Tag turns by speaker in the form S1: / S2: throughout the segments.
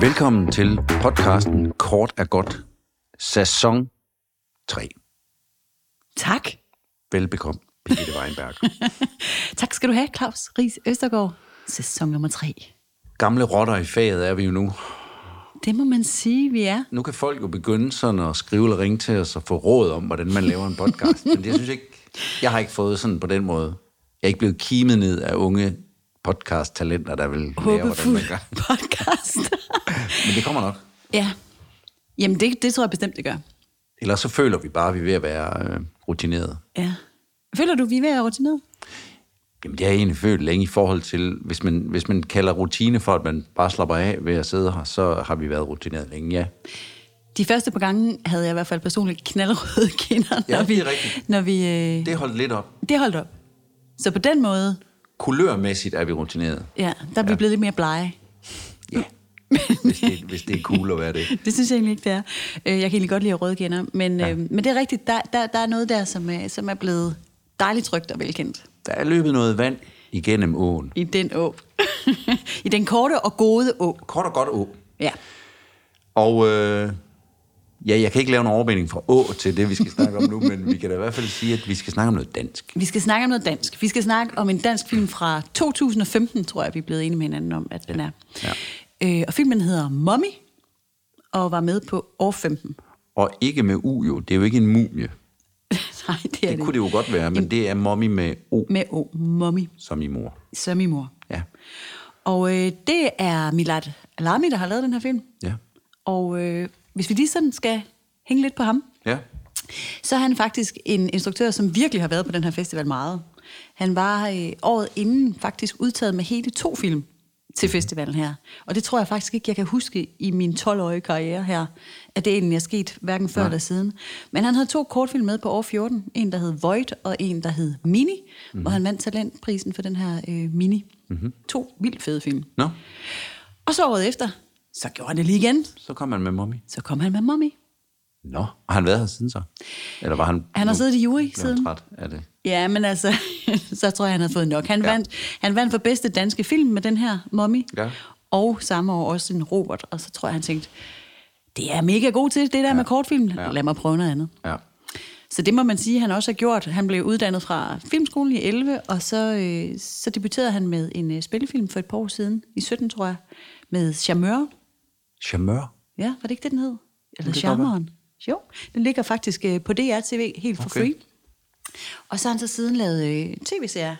S1: Velkommen til podcasten Kort er godt, sæson 3.
S2: Tak.
S1: Velbekomme, Birgitte Weinberg.
S2: Tak skal du have, Claus Ries Østergaard. Sæson nummer tre.
S1: Gamle rotter i faget er vi jo nu.
S2: Det må man sige, vi er.
S1: Nu kan folk jo begynde sådan at skrive eller ringe til os og få råd om, hvordan man laver en podcast. Men det synes jeg ikke, jeg har ikke fået sådan på den måde. Jeg er ikke blevet kimet ned af unge podcast-talenter, der vil lære, hvordan man
S2: Håbefuld
S1: gør.
S2: podcast.
S1: Men det kommer nok.
S2: ja. Jamen, det, det tror jeg bestemt, det gør.
S1: Ellers så føler vi bare, at vi er ved at være øh, rutineret.
S2: Ja. Føler du, vi er ved at være rutineret?
S1: Jamen, det har jeg egentlig følt længe i forhold til, hvis man, hvis man kalder rutine for, at man bare slapper af ved at sidde her, så har vi været rutineret længe, ja.
S2: De første par gange havde jeg i hvert fald personligt knaldrøde kinder,
S1: Ja,
S2: når vi,
S1: det er rigtigt.
S2: når vi øh, det.
S1: Det holdt lidt op.
S2: det holdt op. Så på den måde,
S1: Kulørmæssigt er vi rutineret.
S2: ja, der er vi blevet lidt mere blege.
S1: Ja. Hvis det, hvis det er cool at være det.
S2: Det synes jeg egentlig ikke, det er. Øh, Jeg kan egentlig godt lide at rødkender, men, ja. øh, men det er rigtigt, der, der, der er noget der, som er, som er blevet dejligt trygt og velkendt.
S1: Der er løbet noget vand igennem åen.
S2: I den å. I den korte og gode å.
S1: Kort og godt å.
S2: Ja.
S1: Og øh, ja, jeg kan ikke lave en overmelding fra å til det, vi skal snakke om nu, men vi kan da i hvert fald sige, at vi skal snakke om noget dansk.
S2: Vi skal snakke om noget dansk. Vi skal snakke om en dansk film fra 2015, tror jeg, vi er blevet enige med hinanden om, at den er.
S1: Ja.
S2: Øh, og filmen hedder Mommy, og var med på år 15.
S1: Og ikke med u jo, det er jo ikke en mumie.
S2: Nej, det er
S1: Det
S2: det,
S1: kunne det jo godt være, men det er mommy med o
S2: Med å, Mommy,
S1: som i mor.
S2: som i mor.
S1: Ja,
S2: Og øh, det er Milad Alami, der har lavet den her film.
S1: ja,
S2: Og øh, hvis vi lige sådan skal hænge lidt på ham,
S1: ja.
S2: så er han faktisk en instruktør, som virkelig har været på den her festival meget. Han var øh, året inden faktisk udtaget med hele to film til festivalen her. Og det tror jeg faktisk ikke, jeg kan huske i min 12-årige karriere her, at det egentlig er sket hverken før Nej. eller siden. Men han havde to kortfilm med på år 14. En, der hed Void, og en, der hed Mini, mm-hmm. hvor han vandt talentprisen for den her øh, Mini. Mm-hmm. To vildt fede film.
S1: Nå,
S2: Og så året efter, så gjorde han det lige igen.
S1: så kom han med mommy.
S2: Så kom han med Mommy.
S1: Nå, har han været her siden så? Eller var han...
S2: Han har
S1: nu
S2: siddet i jury
S1: blev han
S2: siden.
S1: træt af det.
S2: Ja, men altså, så tror jeg, han havde fået nok. Han,
S1: Ja.
S2: ja. vandt, han vandt for bedste danske film med den her mommy.
S1: Ja.
S2: Og samme år også en Robert. Og så tror jeg, han tænkte, det er jeg mega god til, det der ja. med kortfilm.
S1: Ja.
S2: Ja. Lad mig prøve noget andet.
S1: Ja.
S2: Så det må man sige, han også har gjort. Han blev uddannet fra filmskolen i 11, og så, øh, så debuterede han med en øh, spillefilm for et par år siden, i 17 tror jeg, med Charmeur.
S1: Charmeur?
S2: Ja, var det ikke det, den hed? Eller
S1: Det kan godt være.
S2: Charmeren? Jo, den ligger faktisk øh, på DRTV helt for
S1: Okay.
S2: okay. free. Og så har han så siden lavet øh, tv-serier.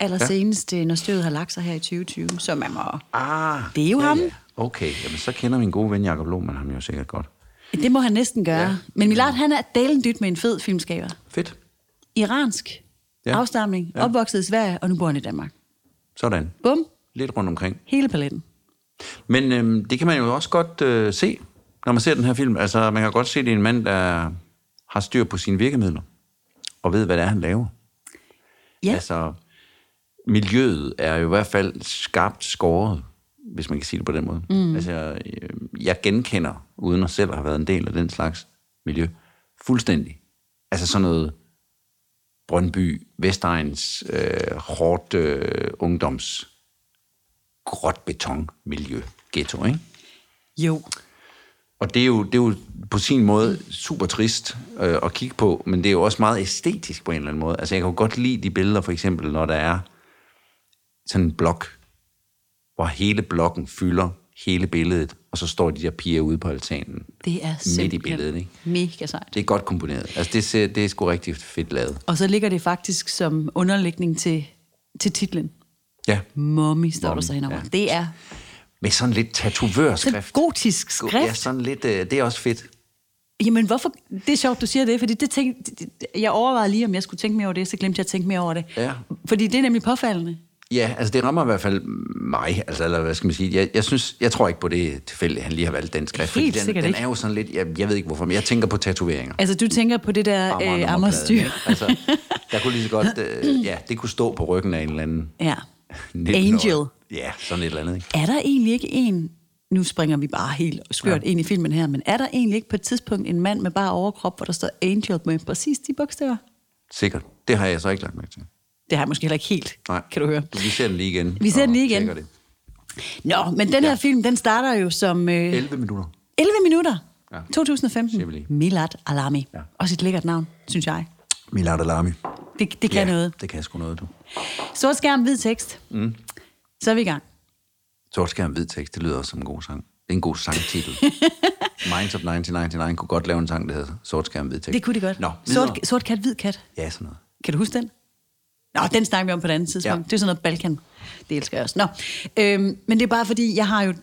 S2: Allersenest, ja. når støvet har lagt sig her i 2020, så man må...
S1: Ah,
S2: Det er jo ham.
S1: Okay, jamen så kender min gode ven Jacob Lohmann ham jo sikkert godt.
S2: Det må han næsten gøre.
S1: Ja.
S2: Ja. Men Milad, han er dalen dyt med en fed filmskaber.
S1: Fedt.
S2: Iransk,
S1: Ja.
S2: ja. afstamning,
S1: Ja.
S2: ja. opvokset i Sverige, og nu bor han i Danmark.
S1: Sådan.
S2: Bum,
S1: Lidt rundt omkring.
S2: hele paletten.
S1: Men øhm, det kan man jo også godt øh, se, når man ser den her film. Altså, man kan godt se, at det er en mand, der har styr på sine virkemidler, og ved, hvad det er, han laver.
S2: Ja.
S1: Altså, miljøet er jo i hvert fald skarpt skåret, hvis man kan sige det på den måde. Mm. Altså, øh, jeg genkender, uden at selv have været en del af den slags miljø, fuldstændig. Altså sådan noget Brøndby, Vestegns, øh, hårdt øh, ungdoms, gråt beton miljø, ghetto, ikke?
S2: Jo.
S1: Og det er, jo, det er jo på sin måde super trist øh, at kigge på, men det er jo også meget æstetisk på en eller anden måde. Altså jeg kan jo godt lide de billeder, for eksempel, når der er sådan en blok, hvor hele blokken fylder hele billedet, og så står de der piger ude på altanen.
S2: Det er simpelthen
S1: billedet, ikke?
S2: mega sejt.
S1: Det er godt komponeret. Altså det, ser, det er sgu rigtig fedt lavet.
S2: Og så ligger det faktisk som underlægning til, til titlen.
S1: Ja,
S2: Mommy står
S1: Mommy,
S2: der så henover.
S1: ja.
S2: Ja. Det er
S1: med sådan lidt
S2: sådan
S1: tatovørskrift.
S2: gotisk skrift.
S1: Ja, sådan lidt. Øh, det er også fedt.
S2: Jamen, hvorfor? Det er sjovt, du siger det, fordi det tænk, det- det- jeg overvejede lige, om jeg skulle tænke mere over det, så glemte jeg at tænke mere over det.
S1: Ja.
S2: Fordi det er nemlig påfaldende.
S1: Ja, altså det rammer i hvert fald mig, altså eller hvad skal man sige, jeg, jeg, synes, jeg tror ikke på det tilfælde, han lige har valgt den skrift,
S2: Helt
S1: den,
S2: sikkert
S1: den
S2: ikke.
S1: er jo sådan lidt, jeg, jeg ved ikke hvorfor, men jeg tænker på tatoveringer.
S2: Altså, du tænker på det der
S1: Amager-
S2: øh,
S1: nummerpladen,
S2: ammerstyr.
S1: ikke? Altså, der kunne lige så godt, øh, ja, det kunne stå på ryggen af en eller anden
S2: Ja.
S1: 19-årig.
S2: Angel.
S1: Ja, sådan et eller andet, ikke?
S2: Er der egentlig ikke en, nu springer vi bare helt skørt ja. ind i filmen her, men er der egentlig ikke på et tidspunkt en mand med bare overkrop, hvor der står Angel med præcis de bogstaver?
S1: Sikkert. Det har jeg så ikke lagt mærke til.
S2: Det har jeg måske heller ikke helt,
S1: Nej.
S2: kan du høre.
S1: Vi ser den lige igen.
S2: Vi ser
S1: og
S2: den lige igen.
S1: tjekker Det.
S2: Nå, men den her ja. film, den starter jo som... Øh,
S1: 11 minutter.
S2: 11 minutter.
S1: Ja.
S2: Ja.
S1: Siger vi lige.
S2: 2015. Milad Alami.
S1: Ja.
S2: Ja. Også et lækkert navn, synes jeg.
S1: Milad Alami.
S2: Det, det kan ja. noget.
S1: det kan sgu noget, du.
S2: Sort skærm, hvid tekst. Mm. Så er vi i gang.
S1: Sort skærm, hvid tekst, det lyder også som en god sang. Det er en god sangtitel. Minds of 1999 kunne godt lave en sang, der hedder Sort skærm, hvid tekst.
S2: Det kunne de godt.
S1: Nå,
S2: sort,
S1: videre.
S2: sort kat, hvid kat.
S1: Ja, sådan noget.
S2: Kan du huske den? Nå, den snakker vi om på et andet tidspunkt.
S1: Ja.
S2: Ja. Det er sådan noget Balkan. Det elsker jeg også. Nå, øhm, men det er bare fordi, jeg har jo... Nu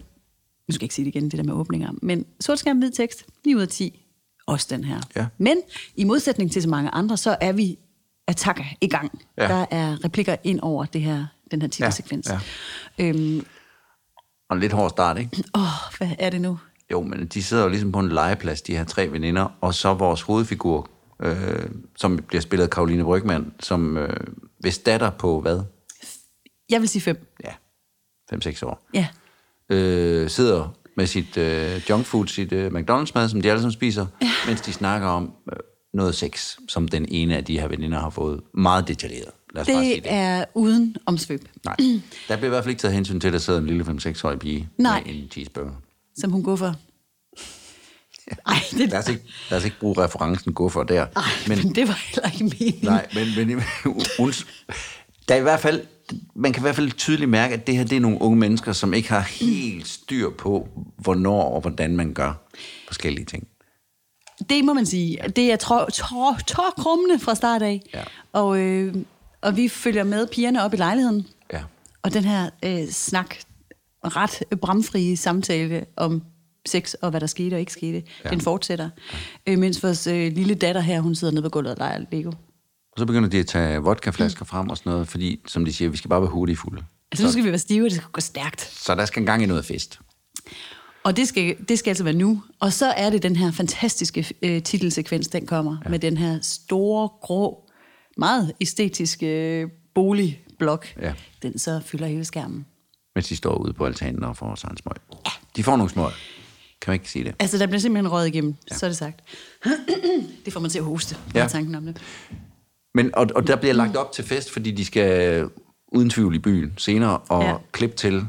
S2: skal jeg ikke sige det igen, det der med åbninger. Men sort skærm, hvid tekst, 9 ud af 10. Også den her.
S1: Ja.
S2: Men i modsætning til så mange andre, så er vi attacker i gang.
S1: Ja.
S2: Ja. Der er replikker ind over det her, den her titelsekvens.
S1: Ja,
S2: Ja. Ja. Øhm,
S1: Og en lidt hård start, ikke?
S2: åh, hvad er det nu?
S1: Jo, men de sidder jo ligesom på en legeplads, de her tre veninder, og så vores hovedfigur, øh, som bliver spillet af Karoline Brygman, som øh, hvis datter på hvad?
S2: Jeg vil sige 5.
S1: Ja, 5-6 år.
S2: Ja.
S1: øh, sidder med sit øh, junkfood, sit øh, McDonald's-mad, som de alle sammen spiser, ja. mens de snakker om øh, noget sex, som den ene af de her veninder har fået meget detaljeret. Lad os bare sige
S2: Det
S1: det.
S2: er uden omsvøb,
S1: Nej, der bliver i hvert fald ikke taget hensyn til, at der sidder en lille 5-6-årig pige
S2: Nej.
S1: med en cheeseburger.
S2: som hun går for. Ej, det,
S1: Lad os ikke, lad os ikke bruge referencen guffer der.
S2: Ej, men, men det var heller ikke meningen.
S1: Nej, men, men hun, der er i hvert fald, man kan i hvert fald tydeligt mærke, at det her det er nogle unge mennesker, som ikke har helt styr på, hvornår og hvordan man gør forskellige ting.
S2: Det må man sige. Det er tår, tår, tårkrummende fra start af.
S1: Ja.
S2: Og, øh, og vi følger med pigerne op i lejligheden.
S1: Ja.
S2: Og den her øh, snak, ret bramfrie samtale om sex og hvad der skete og ikke skete,
S1: Ja.
S2: ja. den fortsætter. Ja. Øh, mens vores øh, lille datter her, hun sidder nede på gulvet og leger Lego.
S1: Og så begynder de at tage vodkaflasker frem og sådan noget, fordi, som de siger, vi skal bare være hurtigfulde.
S2: Altså nu skal vi være stive, og det skal gå stærkt.
S1: Så der skal en gang i noget fest.
S2: Og det skal, det skal altså være nu. Og så er det den her fantastiske øh, titelsekvens, den kommer ja. med den her store, grå, meget æstetiske øh, boligblok.
S1: Ja.
S2: Den så fylder hele skærmen.
S1: Mens de står ude på altanen og får sig en smøg. De får nogle smøg. Kan man ikke sige det?
S2: Altså, der bliver simpelthen røget igennem, ja. så er det sagt. det får man til at hoste,
S1: Ja.
S2: ja. tanken om det.
S1: Men, og, og der bliver lagt op til fest, fordi de skal uden tvivl i byen senere og ja.
S2: Ja.
S1: klippe til,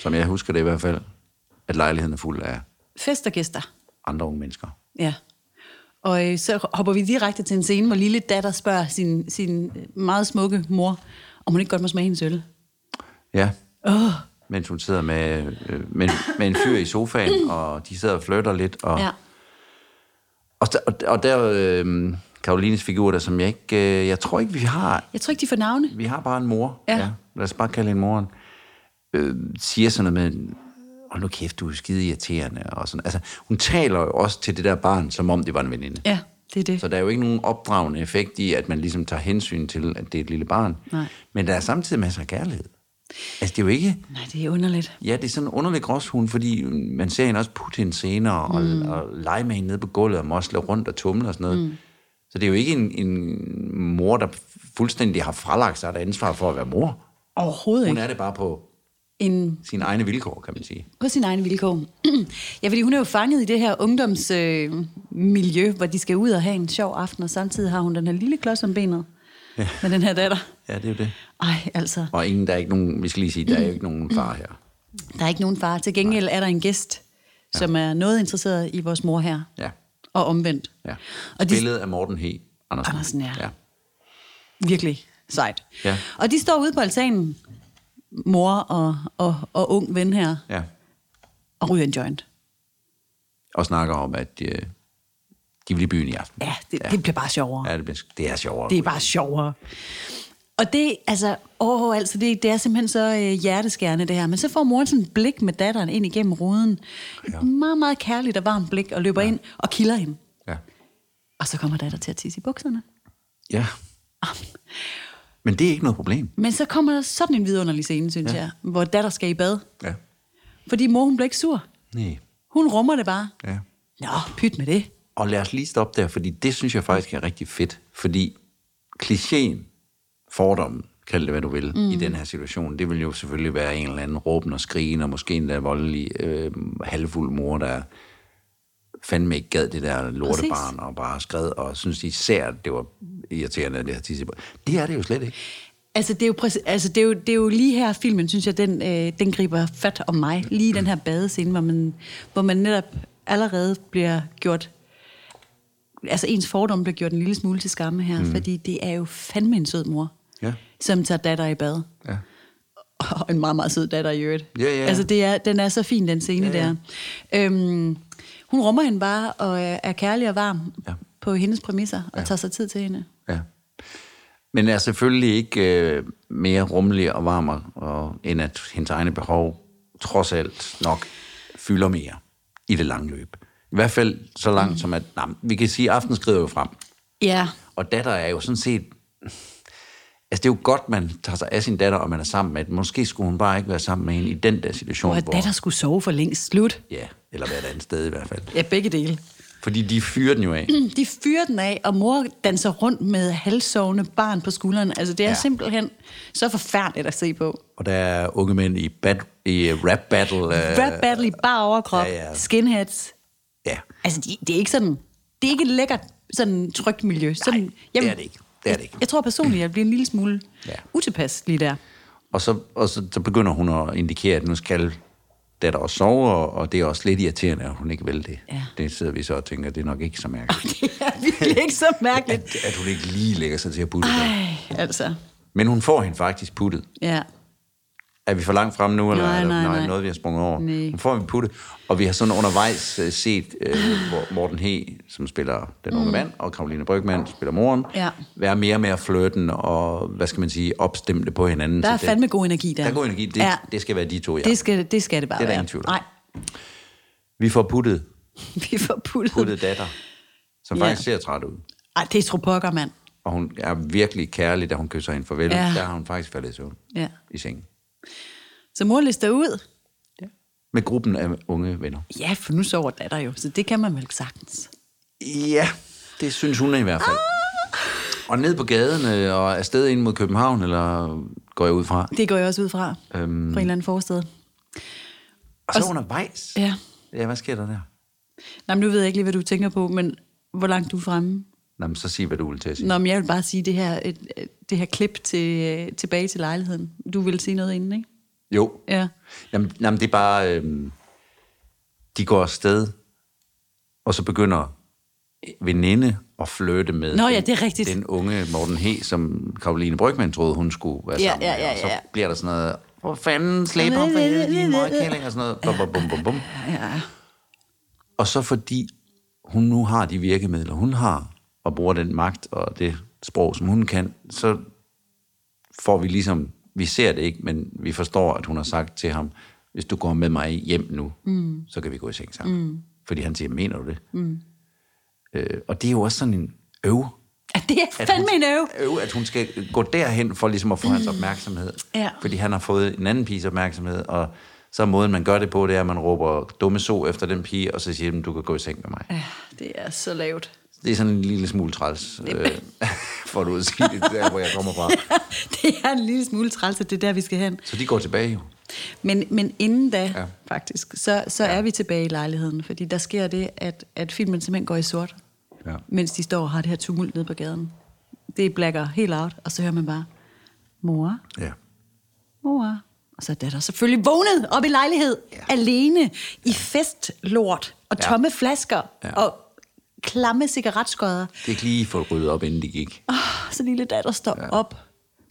S1: som jeg husker det i hvert fald, at lejligheden er fuld af
S2: Fest og gæster.
S1: andre unge mennesker.
S2: Ja. Og øh, så hopper vi direkte til en scene, hvor lille datter spørger sin, sin øh, meget smukke mor, om hun ikke godt må smage hendes øl.
S1: Ja,
S2: Åh, oh,
S1: mens hun sidder med, øh, med, med en fyr i sofaen, og de sidder og flytter lidt. Og,
S2: ja.
S1: Og der, og der- og der øh, Karolines figur, der som jeg ikke... Øh, jeg tror ikke, vi har...
S2: Jeg tror ikke, de får navne.
S1: Vi har bare en mor.
S2: Ja.
S1: Lad os bare kalde hende moren. Øh, siger sådan noget med... Hold nu kæft, du er skide irriterende. Og sådan. Altså, hun taler jo også til det der barn, som om det var en veninde.
S2: Ja, det er det.
S1: Så der er jo ikke nogen opdragende effekt i, at man ligesom tager hensyn til, at det er et lille barn.
S2: Nej.
S1: Men der er samtidig masser af kærlighed. Altså, det er jo ikke...
S2: Nej, det er underligt.
S1: Ja, det er sådan en underlig gråshund, fordi man ser hende også putte hende senere, og, mm. og lege med hende nede på gulvet, og mosle rundt og tumle og sådan noget. Mm. Så det er jo ikke en, en mor, der fuldstændig har fralagt sig et ansvar for at være mor.
S2: Overhovedet
S1: Hun
S2: ikke.
S1: er det bare på
S2: En,
S1: sine egne vilkår, kan man sige.
S2: på sin egen vilkår. ja, fordi hun er jo fanget i det her ungdomsmiljø, øh, miljø, hvor de skal ud og have en sjov aften, og samtidig har hun den her lille klods om benet ja. med den her datter.
S1: Ja, det er jo det.
S2: Ej, altså,
S1: Og ingen, der er ikke nogen, vi skal lige sige, der er jo ikke
S2: Mm.
S1: nogen far her.
S2: der er ikke nogen far. Til gengæld er der en gæst, ja. som er noget interesseret i vores mor her,
S1: Ja,
S2: og omvendt.
S1: ja.
S2: Og de,
S1: Spillet af Morten He. Andersen.
S2: Andersen, ja.
S1: ja.
S2: virkelig sejt.
S1: Ja.
S2: Og de står ude på altanen, mor og, og, og ung ven her,
S1: Ja.
S2: og ryger en joint.
S1: Og snakker om, at øh, de vil i byen i aften.
S2: Ja, det, ja. det bliver bare sjovere.
S1: Ja, det, bliver, det er sjovere.
S2: Det er bare sjovere. Og det, altså, åh, altså det, det er simpelthen så øh, hjerteskærende det her. Men så får moren sådan et blik med datteren ind igennem ruden. Et
S1: Ja.
S2: meget, meget kærligt og varmt blik, og løber ja. ind og kilder hende.
S1: Ja.
S2: Og så kommer datter til at tisse i bukserne.
S1: ja. Ah. Men det er ikke noget problem.
S2: Men så kommer der sådan en vidunderlig scene, synes ja. jeg, hvor datter skal i bad.
S1: Ja.
S2: Fordi mor, hun bliver ikke sur.
S1: Nej.
S2: Hun rummer det bare.
S1: Ja.
S2: Nå, pyt med det.
S1: Og lad os lige stoppe der, fordi det synes jeg faktisk er rigtig fedt. Fordi klichéen, fordommen, kald det hvad du vil, mm. i den her situation, det vil jo selvfølgelig være en eller anden råben og skrigen, og måske endda voldelig, øh, halvfuld mor, der fandme ikke gad det der lortebarn, og bare skred, og synes især, at det var irriterende, at det her tisse. på. Det er det jo slet ikke.
S2: Altså, det er jo, præcis, altså det, er jo, det er jo lige her filmen, synes jeg, den, øh, den griber fat om mig. Lige den her badescene, hvor man, hvor man netop allerede bliver gjort... Altså, ens fordom bliver gjort en lille smule til skamme her, mm. fordi det er jo fandme en sød mor,
S1: Ja.
S2: som tager datter i bad.
S1: Ja.
S2: Og en meget, meget sød datter i øvrigt.
S1: Ja, ja.
S2: Altså, det er, den er så fin, den scene
S1: Ja, ja.
S2: der. Øhm, hun rummer hende bare og øh, er er kærlig og varm
S1: Ja.
S2: ja. på hendes præmisser, og ja. tager sig tid til hende.
S1: ja. Men er selvfølgelig ikke øh, mere rummelig og varmere, og, end at hendes egne behov trods alt nok fylder mere i det lange løb. I hvert fald så langt mm. som at, nej, vi kan sige, at aften skrider jo frem.
S2: Ja,
S1: Og datter er jo sådan set... Altså, det er jo godt, man tager sig af sin datter, og man er sammen med den. Måske skulle hun bare ikke være sammen med hende i den der situation,
S2: og at datter skulle sove for længst slut.
S1: Ja, eller være et andet sted i hvert fald.
S2: Ja, begge dele.
S1: Fordi de fyrer den jo af.
S2: Mm, De fyrer den af, og mor danser rundt med halvsovende barn på skulderen. Altså, det er
S1: Ja.
S2: ja. simpelthen så forfærdeligt at se på.
S1: Og der er unge mænd i, bat, i øh, rap battle. Øh,
S2: Rap battle i bare overkrop,
S1: ja,
S2: ja,
S1: ja.
S2: ja. skinheads.
S1: Ja,
S2: Altså, de, det er ikke sådan... Det er ikke et lækkert, sådan trygt miljø. Sådan,
S1: Nej, det er det ikke. Det er det ikke.
S2: Jeg, jeg tror personligt, jeg bliver en lille smule
S1: Ja.
S2: ja. utilpas lige der.
S1: og, så, og så, så begynder hun at indikere, at nu skal datter også sove, og, og det er også lidt irriterende, at hun ikke vil det.
S2: Ja.
S1: Det sidder vi så og tænker, det er nok ikke så mærkeligt.
S2: Det er virkelig ikke så mærkeligt.
S1: At, at hun ikke lige lægger sig til at putte der.
S2: Ej, altså.
S1: Men hun får hende faktisk puttet.
S2: Ja.
S1: Altså, Er vi for langt frem nu, eller
S2: Nej,
S1: er der
S2: nej,
S1: nej.
S2: nej.
S1: noget, vi har sprunget over?
S2: Nej.
S1: Nu får vi putte. Og vi har sådan undervejs øh, set øh,
S2: Ah.
S1: hvor Morten He, som spiller den unge mm. mand, og Karoline Brygman, som spiller moren,
S2: Ja.
S1: være mere og mere flirten og, hvad skal man sige, opstemte på hinanden.
S2: Der
S1: Så
S2: er
S1: det-
S2: fandme god energi der.
S1: Der er god energi. Det, ja.
S2: Ja.
S1: det skal være de to, ja.
S2: Det skal det, skal det bare
S1: Det er der
S2: være.
S1: ingen tvivl om.
S2: Nej,
S1: Vi får puttet,
S2: vi får puttet.
S1: puttet datter, som
S2: Ja.
S1: faktisk ser træt ud.
S2: Ej, det er tro pokker, mand.
S1: Og hun er virkelig kærlig, da hun kysser hende farvel.
S2: Ja.
S1: Der har hun faktisk faldet i søvn
S2: Ja.
S1: i sengen.
S2: Så mor lister ud.
S1: Med gruppen af unge venner.
S2: Ja, for nu sover datter jo, så det kan man vel sagtens.
S1: Ja, det synes hun i hvert fald.
S2: Ah.
S1: Og ned på gaden øh, og afsted ind mod København, eller går jeg ud fra.
S2: Det går jeg også ud fra, øhm. fra en eller anden forsted.
S1: Og så undervejs.
S2: Ja.
S1: Ja, hvad sker der der?
S2: Nå, men nu ved jeg ikke lige, hvad du tænker på, men hvor langt du er fremme.
S1: Nå, men så sig, hvad du vil til at sige.
S2: Nå, men jeg vil bare sige det her, et, et- det her klip til, øh, tilbage til lejligheden. Du ville sige noget inden, ikke?
S1: Jo.
S2: Ja.
S1: Jamen, jamen det er bare... Øh, de går afsted, og så begynder veninde at flytte med
S2: Nå ja,
S1: den-
S2: det er rigtigt.
S1: den unge Morten He, som Karoline Brygman troede, hun skulle være
S2: Ja,
S1: sammen
S2: ja,
S1: med.
S2: ja,
S1: Og så
S2: ja.
S1: bliver der sådan noget, hvor fanden slæber for helvede, din møgkælling, og sådan noget. Bum, bum, bum, bum, bum.
S2: ja.
S1: Og så fordi hun nu har de virkemidler, hun har, og bruger den magt og det sprog, som hun kan, så får vi ligesom, vi ser det ikke, men vi forstår, at hun har sagt til ham, hvis du går med mig hjem nu, mm. så kan vi gå i seng sammen. Mm. Fordi han siger, mener du det? Mm. Øh, og det er jo også sådan en øv.
S2: Ja, Det er fandme en øv.
S1: øv. Øh, At hun skal gå derhen for ligesom at få mm. hans opmærksomhed.
S2: Ja.
S1: Fordi han har fået en anden piges opmærksomhed, og så er måden, man gør det på, det er, at man råber dumme so efter den pige, og så siger man, du kan gå i seng med mig.
S2: Ja, det er så lavt.
S1: Det er sådan en lille smule træls, øh, for at du at sige det, der hvor jeg kommer fra.
S2: det er en lille smule træls, at det er der, vi skal hen.
S1: Så de går tilbage jo.
S2: Men, men inden da,
S1: Ja.
S2: ja. faktisk, så, så ja. er vi tilbage i lejligheden, fordi der sker det, at, at filmen simpelthen går i sort,
S1: Ja.
S2: mens de står og har det her tumult nede på gaden. Det blacker helt out, og så hører man bare, mor,
S1: Ja.
S2: mor. Og så er datter selvfølgelig vågnet op i lejlighed,
S1: Ja.
S2: ja. alene, i festlort og
S1: Ja.
S2: tomme flasker
S1: Ja.
S2: og klamme cigaretskodder.
S1: Det er ikke lige fået ryddet op, inden de gik.
S2: Oh, så lille datter står
S1: Ja.
S2: ja. op.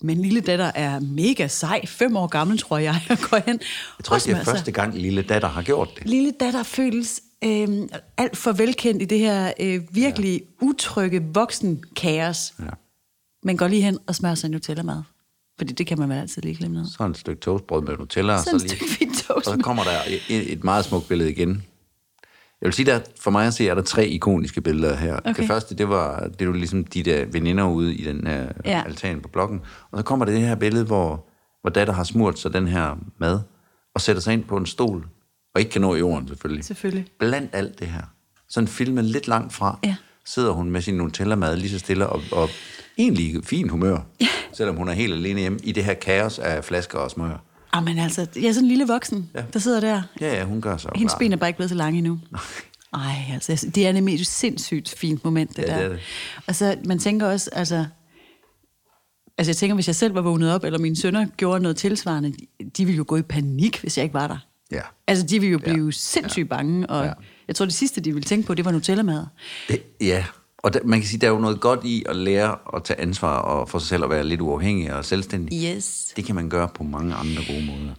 S2: Men lille datter er mega sej, fem år gammel, tror jeg, og går hen.
S1: Jeg tror ikke, det
S2: og
S1: er
S2: smører sig.
S1: første gang, lille datter har gjort det.
S2: lille datter føles øh, alt for velkendt i det her øh, virkelig ja. utrygge voksenkaos.
S1: Ja.
S2: Ja. Man går lige hen og smører sig en Nutella-mad. Fordi det kan man vel altid lige glemme noget.
S1: Så et stykke toastbrød med Nutella.
S2: Så
S1: og
S2: et
S1: så lige,
S2: stykke fint toast.
S1: Og så kommer der et, et meget smukt billede igen. Jeg vil sige, der for mig at se, er der tre ikoniske billeder her. Okay. Det første, det var, det var ligesom de der veninder ude i den her ja.
S2: Ja.
S1: altan på blokken. Og så kommer det det her billede, hvor, hvor datter har smurt sig den her mad, og sætter sig ind på en stol, og ikke kan nå jorden selvfølgelig.
S2: Selvfølgelig.
S1: Blandt alt det her. Sådan filmet lidt langt fra,
S2: Ja.
S1: sidder hun med sin Nutella-mad lige så stille, og, og egentlig i fin humør, ja. selvom hun er helt alene hjemme i det her kaos af flasker og smør.
S2: Ah, men altså, jeg er sådan en lille voksen, ja. der sidder der.
S1: Ja, ja, hun gør sig jo
S2: Hendes
S1: klar.
S2: ben er bare ikke blevet så lange endnu. Nej, altså, jeg synes, det er nemlig et sindssygt fint moment, det
S1: Ja,
S2: der.
S1: det er det.
S2: Og så, man tænker også, altså, Altså jeg tænker, hvis jeg selv var vågnet op, eller mine sønner gjorde noget tilsvarende, de- de ville jo gå i panik, hvis jeg ikke var der.
S1: Ja.
S2: Altså de ville jo blive ja. sindssygt ja. bange, og
S1: Ja.
S2: ja. jeg tror det sidste, de ville tænke på, det var Nutella-mad.
S1: Det, ja, og der, man kan sige, der er jo noget godt i at lære at tage ansvar og for sig selv at være lidt uafhængig og selvstændig.
S2: Yes.
S1: Det kan man gøre på mange andre gode måder.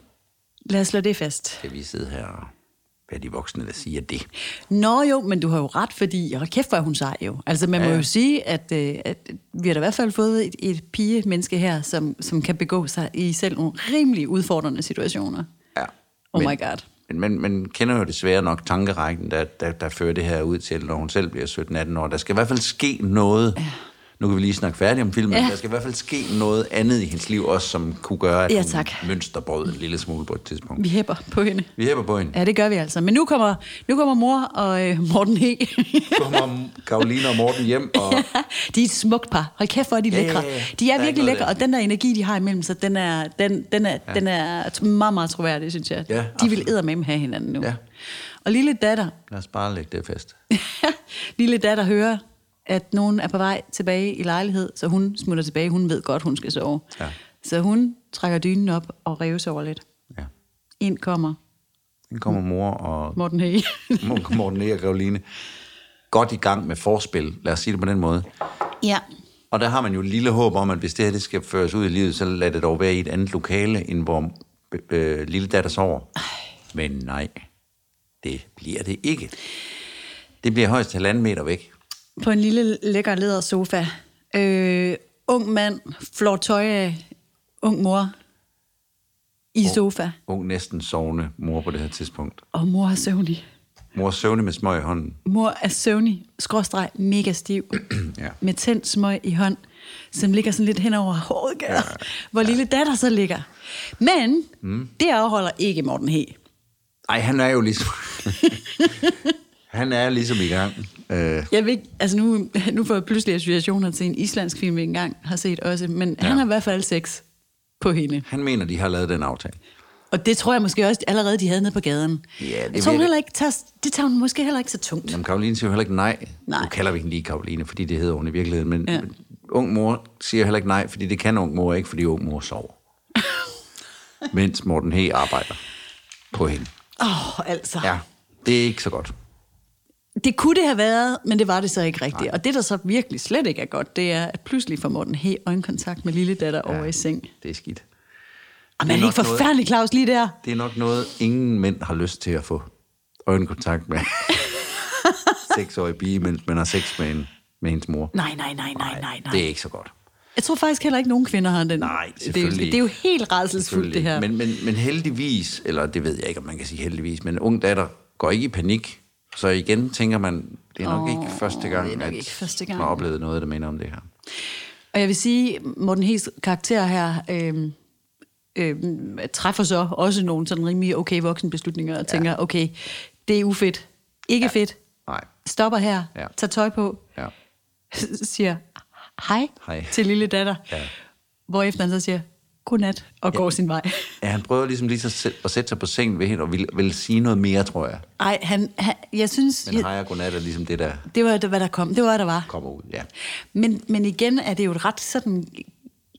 S2: Lad os slå det fast.
S1: Kan vi sidde her og være de voksne, der siger det?
S2: Nå jo, men du har jo ret, fordi hold kæft, hvor er hun sej jo. Altså man ja. må
S1: Ja.
S2: jo sige, at, øh, at vi har da i hvert fald fået et, et pige-menneske her, som, som kan begå sig i selv nogle rimelig udfordrende situationer.
S1: Ja.
S2: Oh
S1: men,
S2: my god.
S1: Men man, man kender jo desværre nok tankerækken, der, der, der fører det her ud til, når hun selv bliver 17-18 år. Der skal i hvert fald ske noget. Ja. Nu kan vi lige snakke færdigt om filmen.
S2: Ja.
S1: Ja. Der skal i hvert fald ske noget andet i hendes liv også, som kunne gøre, at
S2: Ja,
S1: hun
S2: tak.
S1: mønsterbrød en lille smule på et tidspunkt.
S2: Vi hæpper på hende.
S1: Vi hæpper på hende.
S2: Ja, det gør vi altså. Men nu kommer, nu kommer mor og øh, Morten He.
S1: kommer Karoline og Morten hjem, og
S2: de er et smukt par. Hold kæft, hvor er de
S1: Ja, ja,
S2: lækre.
S1: ja.
S2: De
S1: Der
S2: er
S1: er ikke
S2: virkelig
S1: noget
S2: lækre,
S1: der.
S2: og den der energi, de har imellem sig, den er, den, den er, ja. den er t- meget, meget troværdig, synes jeg.
S1: Ja,
S2: de
S1: absolut.
S2: vil eddermame have hinanden nu.
S1: Ja.
S2: Og lille datter,
S1: lad os bare lægge det fast.
S2: lille datter hører, at nogen er på vej tilbage i lejlighed, så hun smutter tilbage. Hun ved godt, hun skal sove.
S1: Ja.
S2: Så hun trækker dynen op og reves over lidt.
S1: Ja.
S2: Ind kommer
S1: Den kommer mor og
S2: Morten Hage.
S1: mor- Morten E. og Karoline godt i gang med forspil, lad os sige det på den måde.
S2: ja.
S1: Og der har man jo et lille håb om, at hvis det her det skal føres ud i livet, så lad det dog være i et andet lokale, end hvor øh, lille datter sover. Men nej, det bliver det ikke. Det bliver højst halvanden meter væk.
S2: På en lille lækker leder sofa. Øh, ung mand, flår tøj af ung mor i sofa.
S1: Ung næsten sovende mor på det her tidspunkt.
S2: Og mor er søvnig.
S1: Mor søvnig med smøg i hånden.
S2: Mor er søvnig, skråstreg, mega stiv,
S1: Ja.
S2: med tændt smøg i hånd, som ligger sådan lidt hen over håret, ja, hvor lille datter så ligger. Men mm. det afholder ikke Morten He.
S1: Ej, han er jo ligesom... han er ligesom i gang. Øh,
S2: Jeg ved ikke, altså nu, nu får jeg pludselig associationer til en islandsk film, vi engang har set også, men ja. han
S1: Ja.
S2: har i hvert fald sex på hende.
S1: han mener, de har lavet den aftale.
S2: Og det tror jeg måske også allerede, de havde nede på gaden.
S1: Ja, det
S2: jeg tror, hun
S1: virker-
S2: heller ikke tager, det tager hun måske heller ikke så tungt.
S1: Jamen, Karoline siger jo heller ikke nej.
S2: Nej.
S1: Nu kalder vi hende lige Karoline, fordi det hedder hun i virkeligheden. Men,
S2: Ja.
S1: ja. men ung mor siger heller ikke nej, fordi det kan ung mor ikke, fordi ung mor sover. Mens Morten He arbejder på hende.
S2: Åh, oh, altså.
S1: Ja, det er ikke så godt.
S2: Det kunne det have været, men det var det så ikke rigtigt. Og det, der så virkelig slet ikke er godt, det er, at pludselig får Morten He øjenkontakt med lille datter ja. over i seng.
S1: Det er skidt.
S2: Og
S1: Det
S2: man
S1: er
S2: Ah, er ikke
S1: nok noget-
S2: forfærdelig, Claus, lige der.
S1: Det er nok noget, ingen mænd har lyst til at få øjenkontakt med. Seksårig pige, mens man har sex med, en, med hendes mor.
S2: Nej, nej, nej, nej, nej, nej.
S1: Det er ikke så godt.
S2: Jeg tror faktisk heller ikke, nogen kvinder har den.
S1: Nej,
S2: Det,
S1: selvfølgelig
S2: det er jo helt rædselsfuldt,
S1: Selvfølgelig.
S2: det her. Men...
S1: Men, men, men heldigvis, eller det ved jeg ikke, om man kan sige heldigvis, men ung datter går ikke i panik. Så igen tænker man, det er nok
S2: Åh,
S1: oh, ikke første gang,
S2: det er nok
S1: at
S2: ikke første gang.
S1: man har oplevet noget, der minder om det her.
S2: Og jeg vil sige, Morten Hes karakter her øhm, øhm, træffer så også nogle sådan rimelig okay voksenbeslutninger, og tænker, okay, det er ufedt, ikke ja. fedt,
S1: Nej,
S2: stopper her, ja.
S1: Ja.
S2: tager tøj på,
S1: ja.
S2: siger hej,
S1: Hej.
S2: til lille datter,
S1: Ja.
S2: hvorefter han så siger godnat og ja. går sin vej.
S1: ja han prøver ligesom lige så sæt- at sætte sig på sengen ved hende, og vil, vil sige noget mere, tror jeg.
S2: Ej, han, han, jeg synes,
S1: Men
S2: jeg,
S1: hej og godnat er ligesom det, der
S2: det var, det, hvad der kom. Det var, hvad der var.
S1: kommer ud. Ja.
S2: Men, men igen er det jo et ret sådan...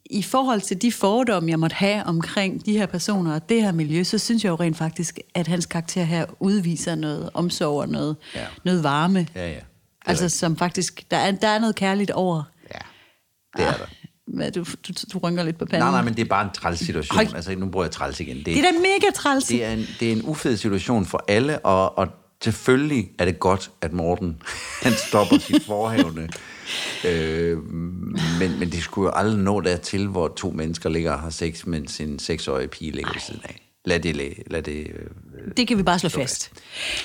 S2: I forhold til de fordomme, jeg måtte have omkring de her personer og det her miljø, så synes jeg jo rent faktisk, at hans karakter her udviser noget omsorg og noget, ja.
S1: Ja.
S2: noget varme.
S1: Ja, ja. Det er
S2: Altså
S1: rigtigt.
S2: som faktisk... Der er, der er noget kærligt over.
S1: ja, det
S2: Ah.
S1: er der.
S2: Hvad, du, du, du rynker lidt på panden.
S1: Nej, nej, men det er bare en træls situation.
S2: Hold-
S1: Altså, nu bruger jeg træls igen. Det,
S2: Det er da mega træls.
S1: det er, en, det er en ufed situation for alle, og, og selvfølgelig er det godt, at Morten han stopper sit forhævne. Øh, men, men det skulle jo aldrig nå dertil, hvor to mennesker ligger og har sex, mens en seksårig pige ligger ved siden af. Lad det, læ- lad det øh,
S2: Det kan vi bare slå fast.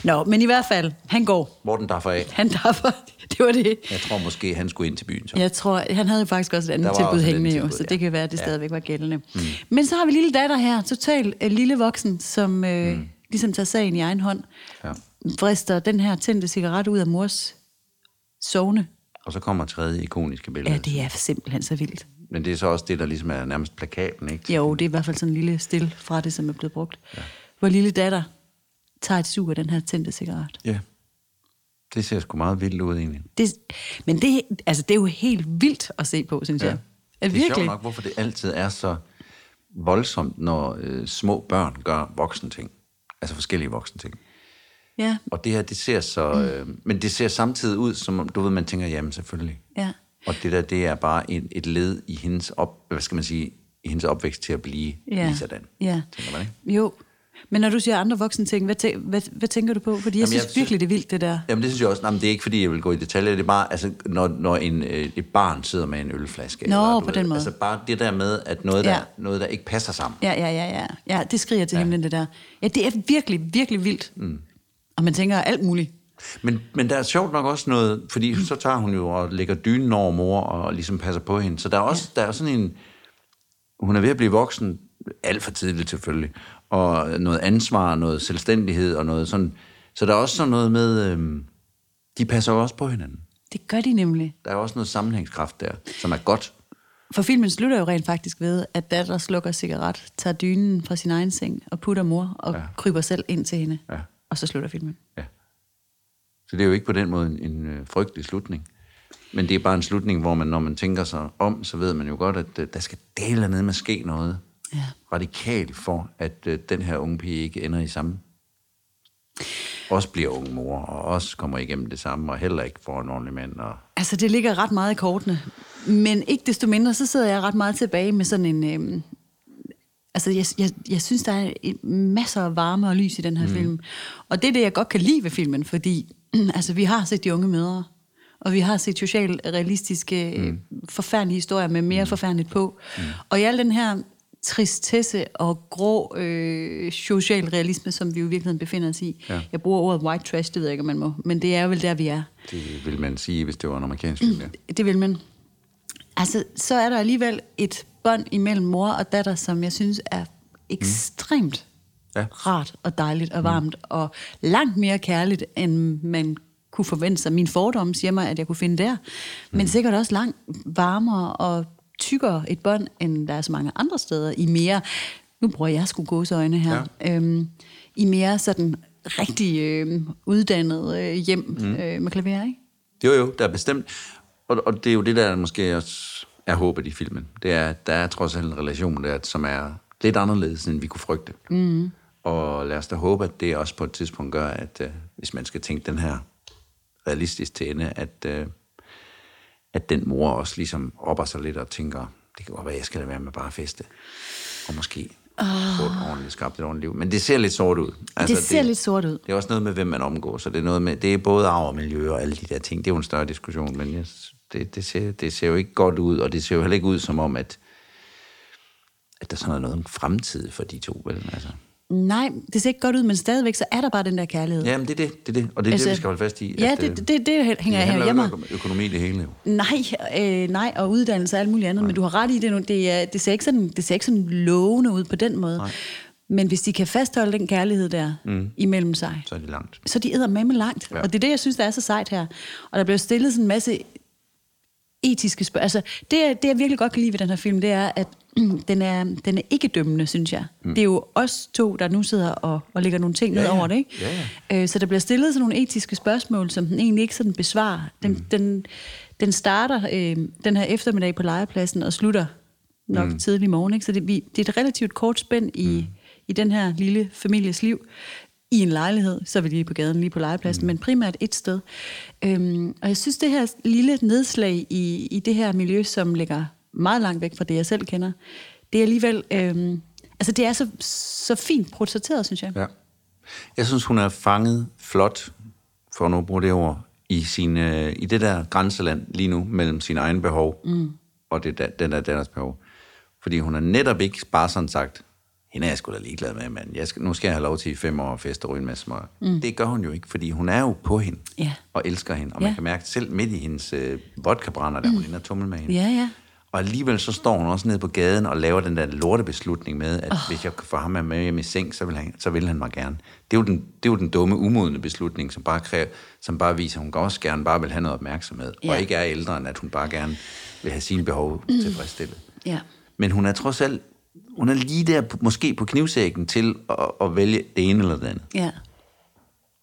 S2: Nå, men i hvert fald, han går.
S1: Morten derfor af.
S2: Han daffer. Det var det.
S1: Jeg tror måske, han skulle ind til byen. Så.
S2: Jeg tror, han havde jo faktisk også et
S1: Der
S2: andet
S1: var
S2: tilbud
S1: også et
S2: hængende
S1: andet
S2: jo,
S1: tilbud,
S2: så det
S1: ja.
S2: kan være, at det
S1: Ja.
S2: stadigvæk var gældende. Mm. Men så har vi lille datter her, total øh, lille voksen, som øh, mm. ligesom tager sagen i egen hånd,
S1: Ja.
S2: frister den her tændte cigaret ud af mors sovne.
S1: Og så kommer tredje ikoniske billede.
S2: Ja, det er simpelthen så vildt.
S1: Men det er så også det, der ligesom er nærmest plakaten, ikke?
S2: Jo, det er i hvert fald sådan en lille stil fra det, som er blevet brugt. Ja. Hvor lille datter tager et sug af den her tændte cigaret.
S1: Ja. Det ser sgu meget vildt ud, egentlig.
S2: Det, men det, altså, det er jo helt vildt at se på, synes ja.
S1: Ja.
S2: jeg. Ja,
S1: Det er
S2: virkelig.
S1: sjovt nok, hvorfor det altid er så voldsomt, når øh, små børn gør voksne ting. Altså forskellige voksne ting.
S2: Ja,
S1: Og det her, det ser så...
S2: Mm.
S1: Øh, men det ser samtidig ud, som om, du ved, man tænker, jamen selvfølgelig.
S2: ja.
S1: Og det der, det er bare en, et led i hendes, op, hvad skal man sige, i hendes opvækst til at blive
S2: Ja.
S1: lige sådan.
S2: Ja.
S1: Tænker man, ikke?
S2: Jo. Men når du siger andre voksne ting, hvad, tæ- hvad, hvad tænker du på? Fordi
S1: Jamen,
S2: jeg Jamen, synes
S1: jeg synes-
S2: virkelig, det er vildt, det der.
S1: Jamen det synes jeg også, nej, men det er ikke fordi, jeg vil gå i detaljer, det er bare, altså, når, når en, øh, et barn sidder med en ølflaske.
S2: Nå,
S1: du
S2: på den måde.
S1: Altså bare det der med, at noget, der,
S2: Ja.
S1: noget der ikke passer sammen.
S2: Ja, ja, ja, ja. Ja, det skriger til ja. himlen, det der. Ja, det er virkelig, virkelig vildt. Mm. Og man tænker alt muligt.
S1: Men, men der er sjovt nok også noget, fordi så tager hun jo og lægger dynen over mor og ligesom passer på hende. Så der er også ja. der er sådan en... Hun er ved at blive voksen, alt for tidligt selvfølgelig, og noget ansvar, noget selvstændighed og noget sådan. Så der er også sådan noget med, øhm, de passer jo også på hinanden.
S2: Det gør de nemlig.
S1: Der er også noget sammenhængskraft der, som er godt.
S2: For filmen slutter jo rent faktisk ved, at datter slukker cigaret, tager dynen fra sin egen seng og putter mor og ja. kryber selv ind til hende.
S1: Ja.
S2: Og så slutter filmen.
S1: Ja. Så det er jo ikke på den måde en, en øh, frygtelig slutning. Men det er bare en slutning, hvor man, når man tænker sig om, så ved man jo godt, at øh, der skal dele ned med ske noget
S2: Ja.
S1: radikalt for, at øh, den her unge pige ikke ender i samme. Også bliver unge mor, og også kommer igennem det samme, og heller ikke får en ordentlig mand. Og...
S2: Altså, det ligger ret meget i kortene. Men ikke desto mindre, så sidder jeg ret meget tilbage med sådan en... Øhm, altså, jeg, jeg, jeg synes, der er en- masser af varme og lys i den her mm. film. Og det er det, jeg godt kan lide ved filmen, fordi altså, vi har set de unge mødre, og vi har set socialt realistiske, mm. forfærdelige historier med mere mm. forfærdeligt på. Mm. Og i al den her tristesse og grå øh, social realisme, som vi jo i virkeligheden befinder os i.
S1: Ja.
S2: Ja. Jeg bruger ordet white trash, det ved jeg ikke, om man må, men det er vel der, vi er
S1: Det vil man sige, hvis det var en amerikansk film. Ja.
S2: det vil man. Altså, så er der alligevel et bånd imellem mor og datter, som jeg synes er ekstremt
S1: Ja.
S2: ja. rart og dejligt og varmt, mm. og langt mere kærligt, end man kunne forvente sig. Min fordomme siger mig, at jeg kunne finde der. Men sikkert også langt varmere og tykkere et bånd, end der er så mange andre steder i mere... Nu bruger jeg sgu gåseøjne her. Ja. Øhm, I mere sådan rigtig øhm, uddannet øh, hjem mm. øh, med klaver, ikke?
S1: Jo, jo, der er bestemt. Og, og det er jo det, der måske også er håbet i filmen. Det er, at der er trods alt en relation der, som er lidt anderledes, end vi kunne frygte. Mm. Og lad os da håbe, at det også på et tidspunkt gør, at øh, hvis man skal tænke den her realistisk til ende, at, øh, at den mor også ligesom opper sig lidt og tænker, det kan godt være, jeg skal lade være med bare at feste. Og måske få et ordentligt, skabt et ordentligt liv. Men det ser lidt sort ud.
S2: Ah. Altså,
S1: Altså,
S2: det ser lidt sort ud.
S1: Det er også noget med, hvem man omgås, så det er, noget med, det er både arv og miljø og alle de der ting. Det er jo en større diskussion, men jeg, det, det, ser, det ser jo ikke godt ud, og det ser jo heller ikke ud som om, at, at der sådan er noget om fremtid for de to, vel? Altså.
S2: Nej, det ser ikke godt ud, men stadigvæk så er der bare den der kærlighed.
S1: Jamen, det er det, det er det, og det er altså, det, vi skal holde fast i.
S2: Ja,
S1: at, øh,
S2: det, det, det, det hænger
S1: det
S2: jeg her
S1: handler jo
S2: hjemme.
S1: ikke om økonomi det hele. jo.
S2: Nej, øh, nej, og uddannelse og alt muligt andet, nej. men du har ret i det nu. Det, er, det, ser ikke sådan, det ser ikke sådan lovende ud på den måde. Nej. Men hvis de kan fastholde den kærlighed der mm. imellem sig,
S1: Så er det langt.
S2: så er de æder med med langt.
S1: Ja.
S2: Ja. Og det er det, jeg synes, der er så sejt her. Og der bliver stillet sådan en masse etiske spørgsmål. Altså, det, det, jeg virkelig godt kan lide ved den her film, det er, at den er, den er ikke dømmende, synes jeg. Mm. Det er jo os to, der nu sidder og, og lægger nogle ting
S1: Ja,
S2: ned
S1: ja.
S2: over det, ikke?
S1: Ja,
S2: Øh, så der bliver stillet sådan nogle etiske spørgsmål, som den egentlig ikke sådan besvarer. Den, mm. den, den starter øh, den her eftermiddag på legepladsen og slutter nok mm. tidlig morgen, ikke? Så det, vi, det er et relativt kort spænd i, mm. i den her lille families liv i en lejlighed, så er vi lige på gaden, lige på legepladsen, mm. men primært et sted. Øhm, og jeg synes, det her lille nedslag i, i det her miljø, som ligger meget langt væk fra det, jeg selv kender, det er alligevel... Øhm, altså, det er så, så fint portrætteret, synes jeg.
S1: Ja. Jeg synes, hun er fanget flot, for nu at bruge det ord, i, sin, øh, i det der grænseland lige nu, mellem sine egne behov mm. og det, der, den der datters behov. Fordi hun har netop ikke bare sådan sagt, hende er jeg sgu da ligeglad med, mand. Jeg skal, nu skal jeg have lov til i fem år at feste og ryge en masse smøg. Mm. Det gør hun jo ikke, fordi hun er jo på hende
S2: Ja.
S1: og elsker hende. Og man
S2: Ja.
S1: kan mærke selv midt i hendes øh, vodkabrænder, der mm. hun ender tummel med hende.
S2: Ja, ja.
S1: Og alligevel så står hun også nede på gaden og laver den der lortebeslutning med, at oh. hvis jeg kan få ham med hjem i seng, så vil han, så vil han mig gerne. Det er, jo den, det er jo den dumme, umodne beslutning, som bare, kræver, som bare viser, at hun også gerne bare vil have noget opmærksomhed,
S2: Ja.
S1: og ikke er ældre, end at hun bare gerne vil have sine behov tilfredsstillet.
S2: Ja.
S1: Men hun er trods alt, hun er lige der, på- måske på knivsækken til at, at vælge det ene eller det andet.
S2: Ja.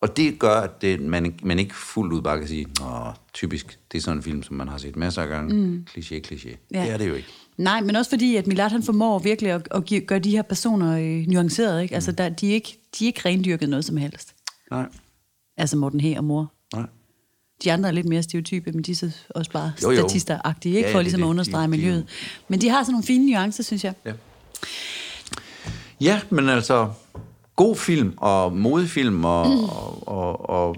S1: Og det gør, at det, man, man ikke fuldt ud bare kan sige, Nå, typisk, det er sådan en film, som man har set masser af gange. Mm. Kliché, kliché. Ja.
S2: Ja.
S1: Det er det jo ikke.
S2: Nej, men også fordi, at Milad han formår virkelig at, at give, gøre de her personer øh, nuancerede. Ikke? Altså, der, de, er ikke, de er ikke rendyrket noget som helst.
S1: Nej,
S2: Altså Morten He og mor.
S1: nej.
S2: De andre er lidt mere stereotype, men de er så også bare
S1: Jo, jo.
S2: statister-agtige, ikke?
S1: Ja, ja, det
S2: for
S1: er
S2: ligesom at
S1: det.
S2: understrege
S1: De- de-
S2: miljøet. Men de har sådan nogle fine nuancer, synes jeg.
S1: Ja. ja, men altså, god film og modefilm og, mm. og, og, og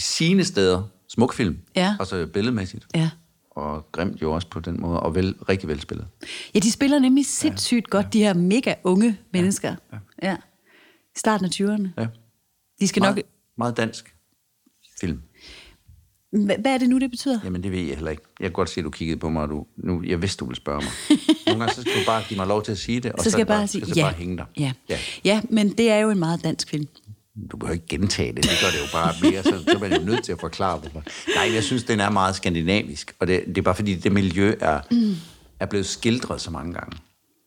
S1: sine steder, smuk film,
S2: Ja.
S1: altså billedmæssigt,
S2: Ja.
S1: og grimt jo også på den måde, og vel, rigtig velspillet.
S2: Ja, de spiller nemlig sindssygt godt, de her mega unge mennesker. Ja. ja. I starten af 20'erne.
S1: Ja.
S2: De skal nok...
S1: Meget, meget dansk film.
S2: Hva- Hvad er det nu, det betyder?
S1: Jamen, det ved jeg heller ikke. Jeg kan godt se, at du kiggede på mig, og du, nu, jeg vidste, du ville spørge mig. Nogle gange, så skal du bare give mig lov til at sige det, og
S2: så skal
S1: er
S2: jeg
S1: det
S2: bare sige,
S1: så
S2: ja.
S1: bare hænge dig.
S2: Ja.
S1: ja.
S2: ja, men det er jo en meget dansk film.
S1: Du behøver ikke gentage det, det gør det jo bare mere, så, så er man jo nødt til at forklare det. Nej, jeg synes, den er meget skandinavisk, og det, det er bare fordi, det miljø er, mm. er blevet skildret så mange gange.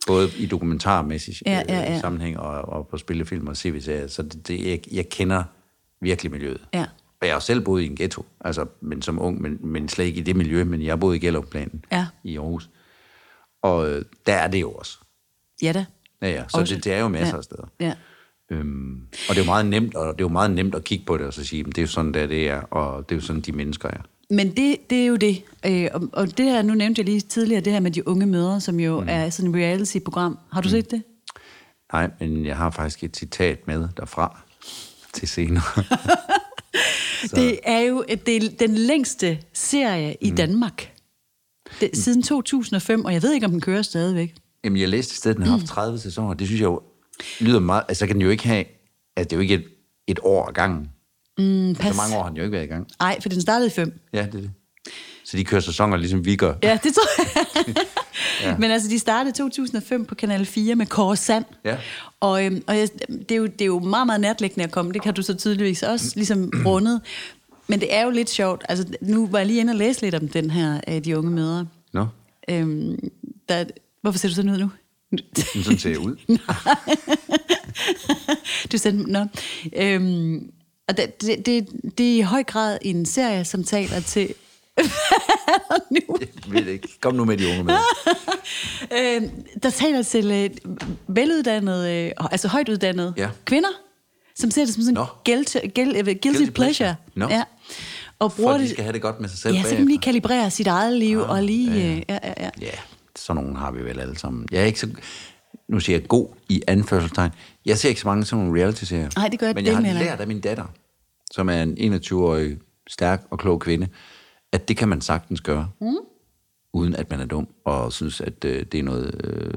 S1: Både i dokumentarmæssig
S2: Ja, ja, ja.
S1: Øh, sammenhæng og, og på spillefilm og tv-serier, så det, det, jeg, jeg kender virkelig miljøet.
S2: Ja.
S1: Og jeg har jo selv boet i en ghetto, altså, men som ung, men, men slet ikke i det miljø, men jeg har boet i Gellerplanen
S2: Ja.
S1: i Aarhus. Og øh, der er det jo også.
S2: Ja da.
S1: Ja, ja. Så
S2: Også.
S1: det, det er jo masser
S2: Ja.
S1: af steder.
S2: Ja.
S1: Øhm, og det er jo meget nemt, og det er jo meget nemt at kigge på det og så sige, "Men det er jo sådan, der det er, og det er jo sådan, de mennesker er.
S2: Men det, det er jo det. Øh, og, og det her, nu nævnte jeg lige tidligere, det her med de unge mødre, som jo mm. er sådan et reality-program. Har du mm. set det?
S1: Nej, men jeg har faktisk et citat med derfra til senere.
S2: Det er jo at det er den længste serie i mm. Danmark. Det, siden 2005, og jeg ved ikke, om den kører stadigvæk.
S1: Jamen, jeg læste et sted, den har
S2: Mm.
S1: haft 30 sæsoner. Det synes jeg jo lyder meget... Altså, så kan den jo ikke have... Altså, det er jo ikke et, et år ad gangen.
S2: Men pas.
S1: Så mange år har den jo ikke været i gang.
S2: Nej, for den startede i fem.
S1: Ja, det er det. Så de kører sæsoner, ligesom vi gør.
S2: Ja, det tror jeg. ja. Men altså, de startede i 2005 på Kanal 4 med Kåre Sand.
S1: Ja.
S2: Og, øhm, og jeg, det, er jo, det er jo meget, meget nærtlæggende at komme. Det kan du så tydeligvis også ligesom rundet. Men det er jo lidt sjovt. Altså, nu var jeg lige inde og læse lidt om den her, øh, de unge mødre.
S1: Nå,
S2: Øhm, der, hvorfor ser du sådan ud nu?
S1: men sådan ser jeg ud.
S2: du sendte no. øhm, og det, det, det, det er i høj grad en serie, som taler til... Hvad er der nu?
S1: Jeg ved det ikke. Kom nu med de unge med.
S2: Øh, der taler til øh, veluddannede, øh, altså højt uddannede
S1: Ja.
S2: kvinder, som ser det som sådan
S1: Nå.
S2: en guilty, guilty, øh, guilty, guilty
S1: Guilty
S2: pleasure.
S1: pleasure. Nå.
S2: Ja. Og
S1: For
S2: bruger
S1: at de
S2: det,
S1: skal have det godt med sig selv
S2: ja, så kan man lige kalibrere sit eget liv og lige... Øh, ja, ja, ja.
S1: Ja, sådan nogle har vi vel alle sammen. Jeg er ikke så... Nu siger jeg god i anførselstegn. Jeg ser ikke så mange sådan nogle reality-serier.
S2: Nej, det gør jeg
S1: Men jeg har
S2: dæleme heller
S1: lært af min datter, som er en 21-årig stærk og klog kvinde, at det kan man sagtens gøre, mm. uden at man er dum og synes, at øh, det er noget øh,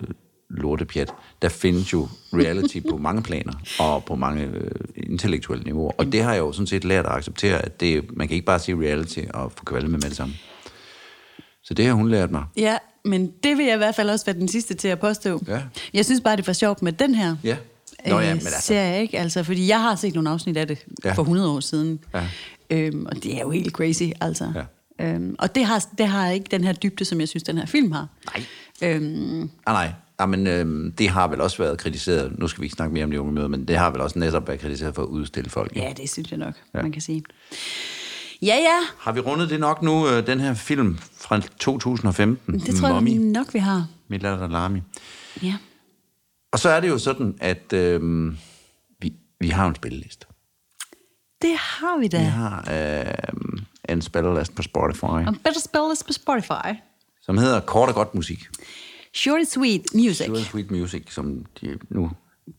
S1: lortepjat. Der findes jo reality på mange planer og på mange øh, intellektuelle niveauer. Og det har jeg jo sådan set lært at acceptere, at det, man kan ikke bare sige reality og få kvalme med det samme. Så det har hun lært mig.
S2: ja, men det vil jeg i hvert fald også være den sidste til at påstå.
S1: Ja.
S2: Jeg synes bare, det var sjovt med den her.
S1: Ja.
S2: Nå, ja, men altså. Serie, ikke? Altså, fordi jeg har set nogle afsnit af det ja.
S1: Ja.
S2: for 100 år siden.
S1: Ja.
S2: Øhm, og det er jo helt crazy, altså. Ja. Øhm, og det har, det har ikke den her dybde, som jeg synes, den her film har.
S1: Nej.
S2: Øhm,
S1: Ah, nej, ah, men øh, det har vel også været kritiseret. Nu skal vi ikke snakke mere om det unge møde, men det har vel også netop været kritiseret for at udstille folk. ikke?
S2: ja, det synes jeg nok, ja. man kan sige. Ja, ja,
S1: Har vi rundet det nok nu, øh, den her film fra 2015?
S2: det tror
S1: Mommy,
S2: jeg
S1: jeg...
S2: nok, vi har.
S1: Milad og Lami.
S2: Ja.
S1: Og så er det jo sådan, at øh, vi, vi har en spilleliste.
S2: Det har vi da.
S1: Vi
S2: Ja.
S1: har øh, en spilleliste på Spotify,
S2: Og better spell this på Spotify.
S1: som hedder Kort og Godt Musik.
S2: Short and sweet music
S1: Sure Sweet Music, som de nu...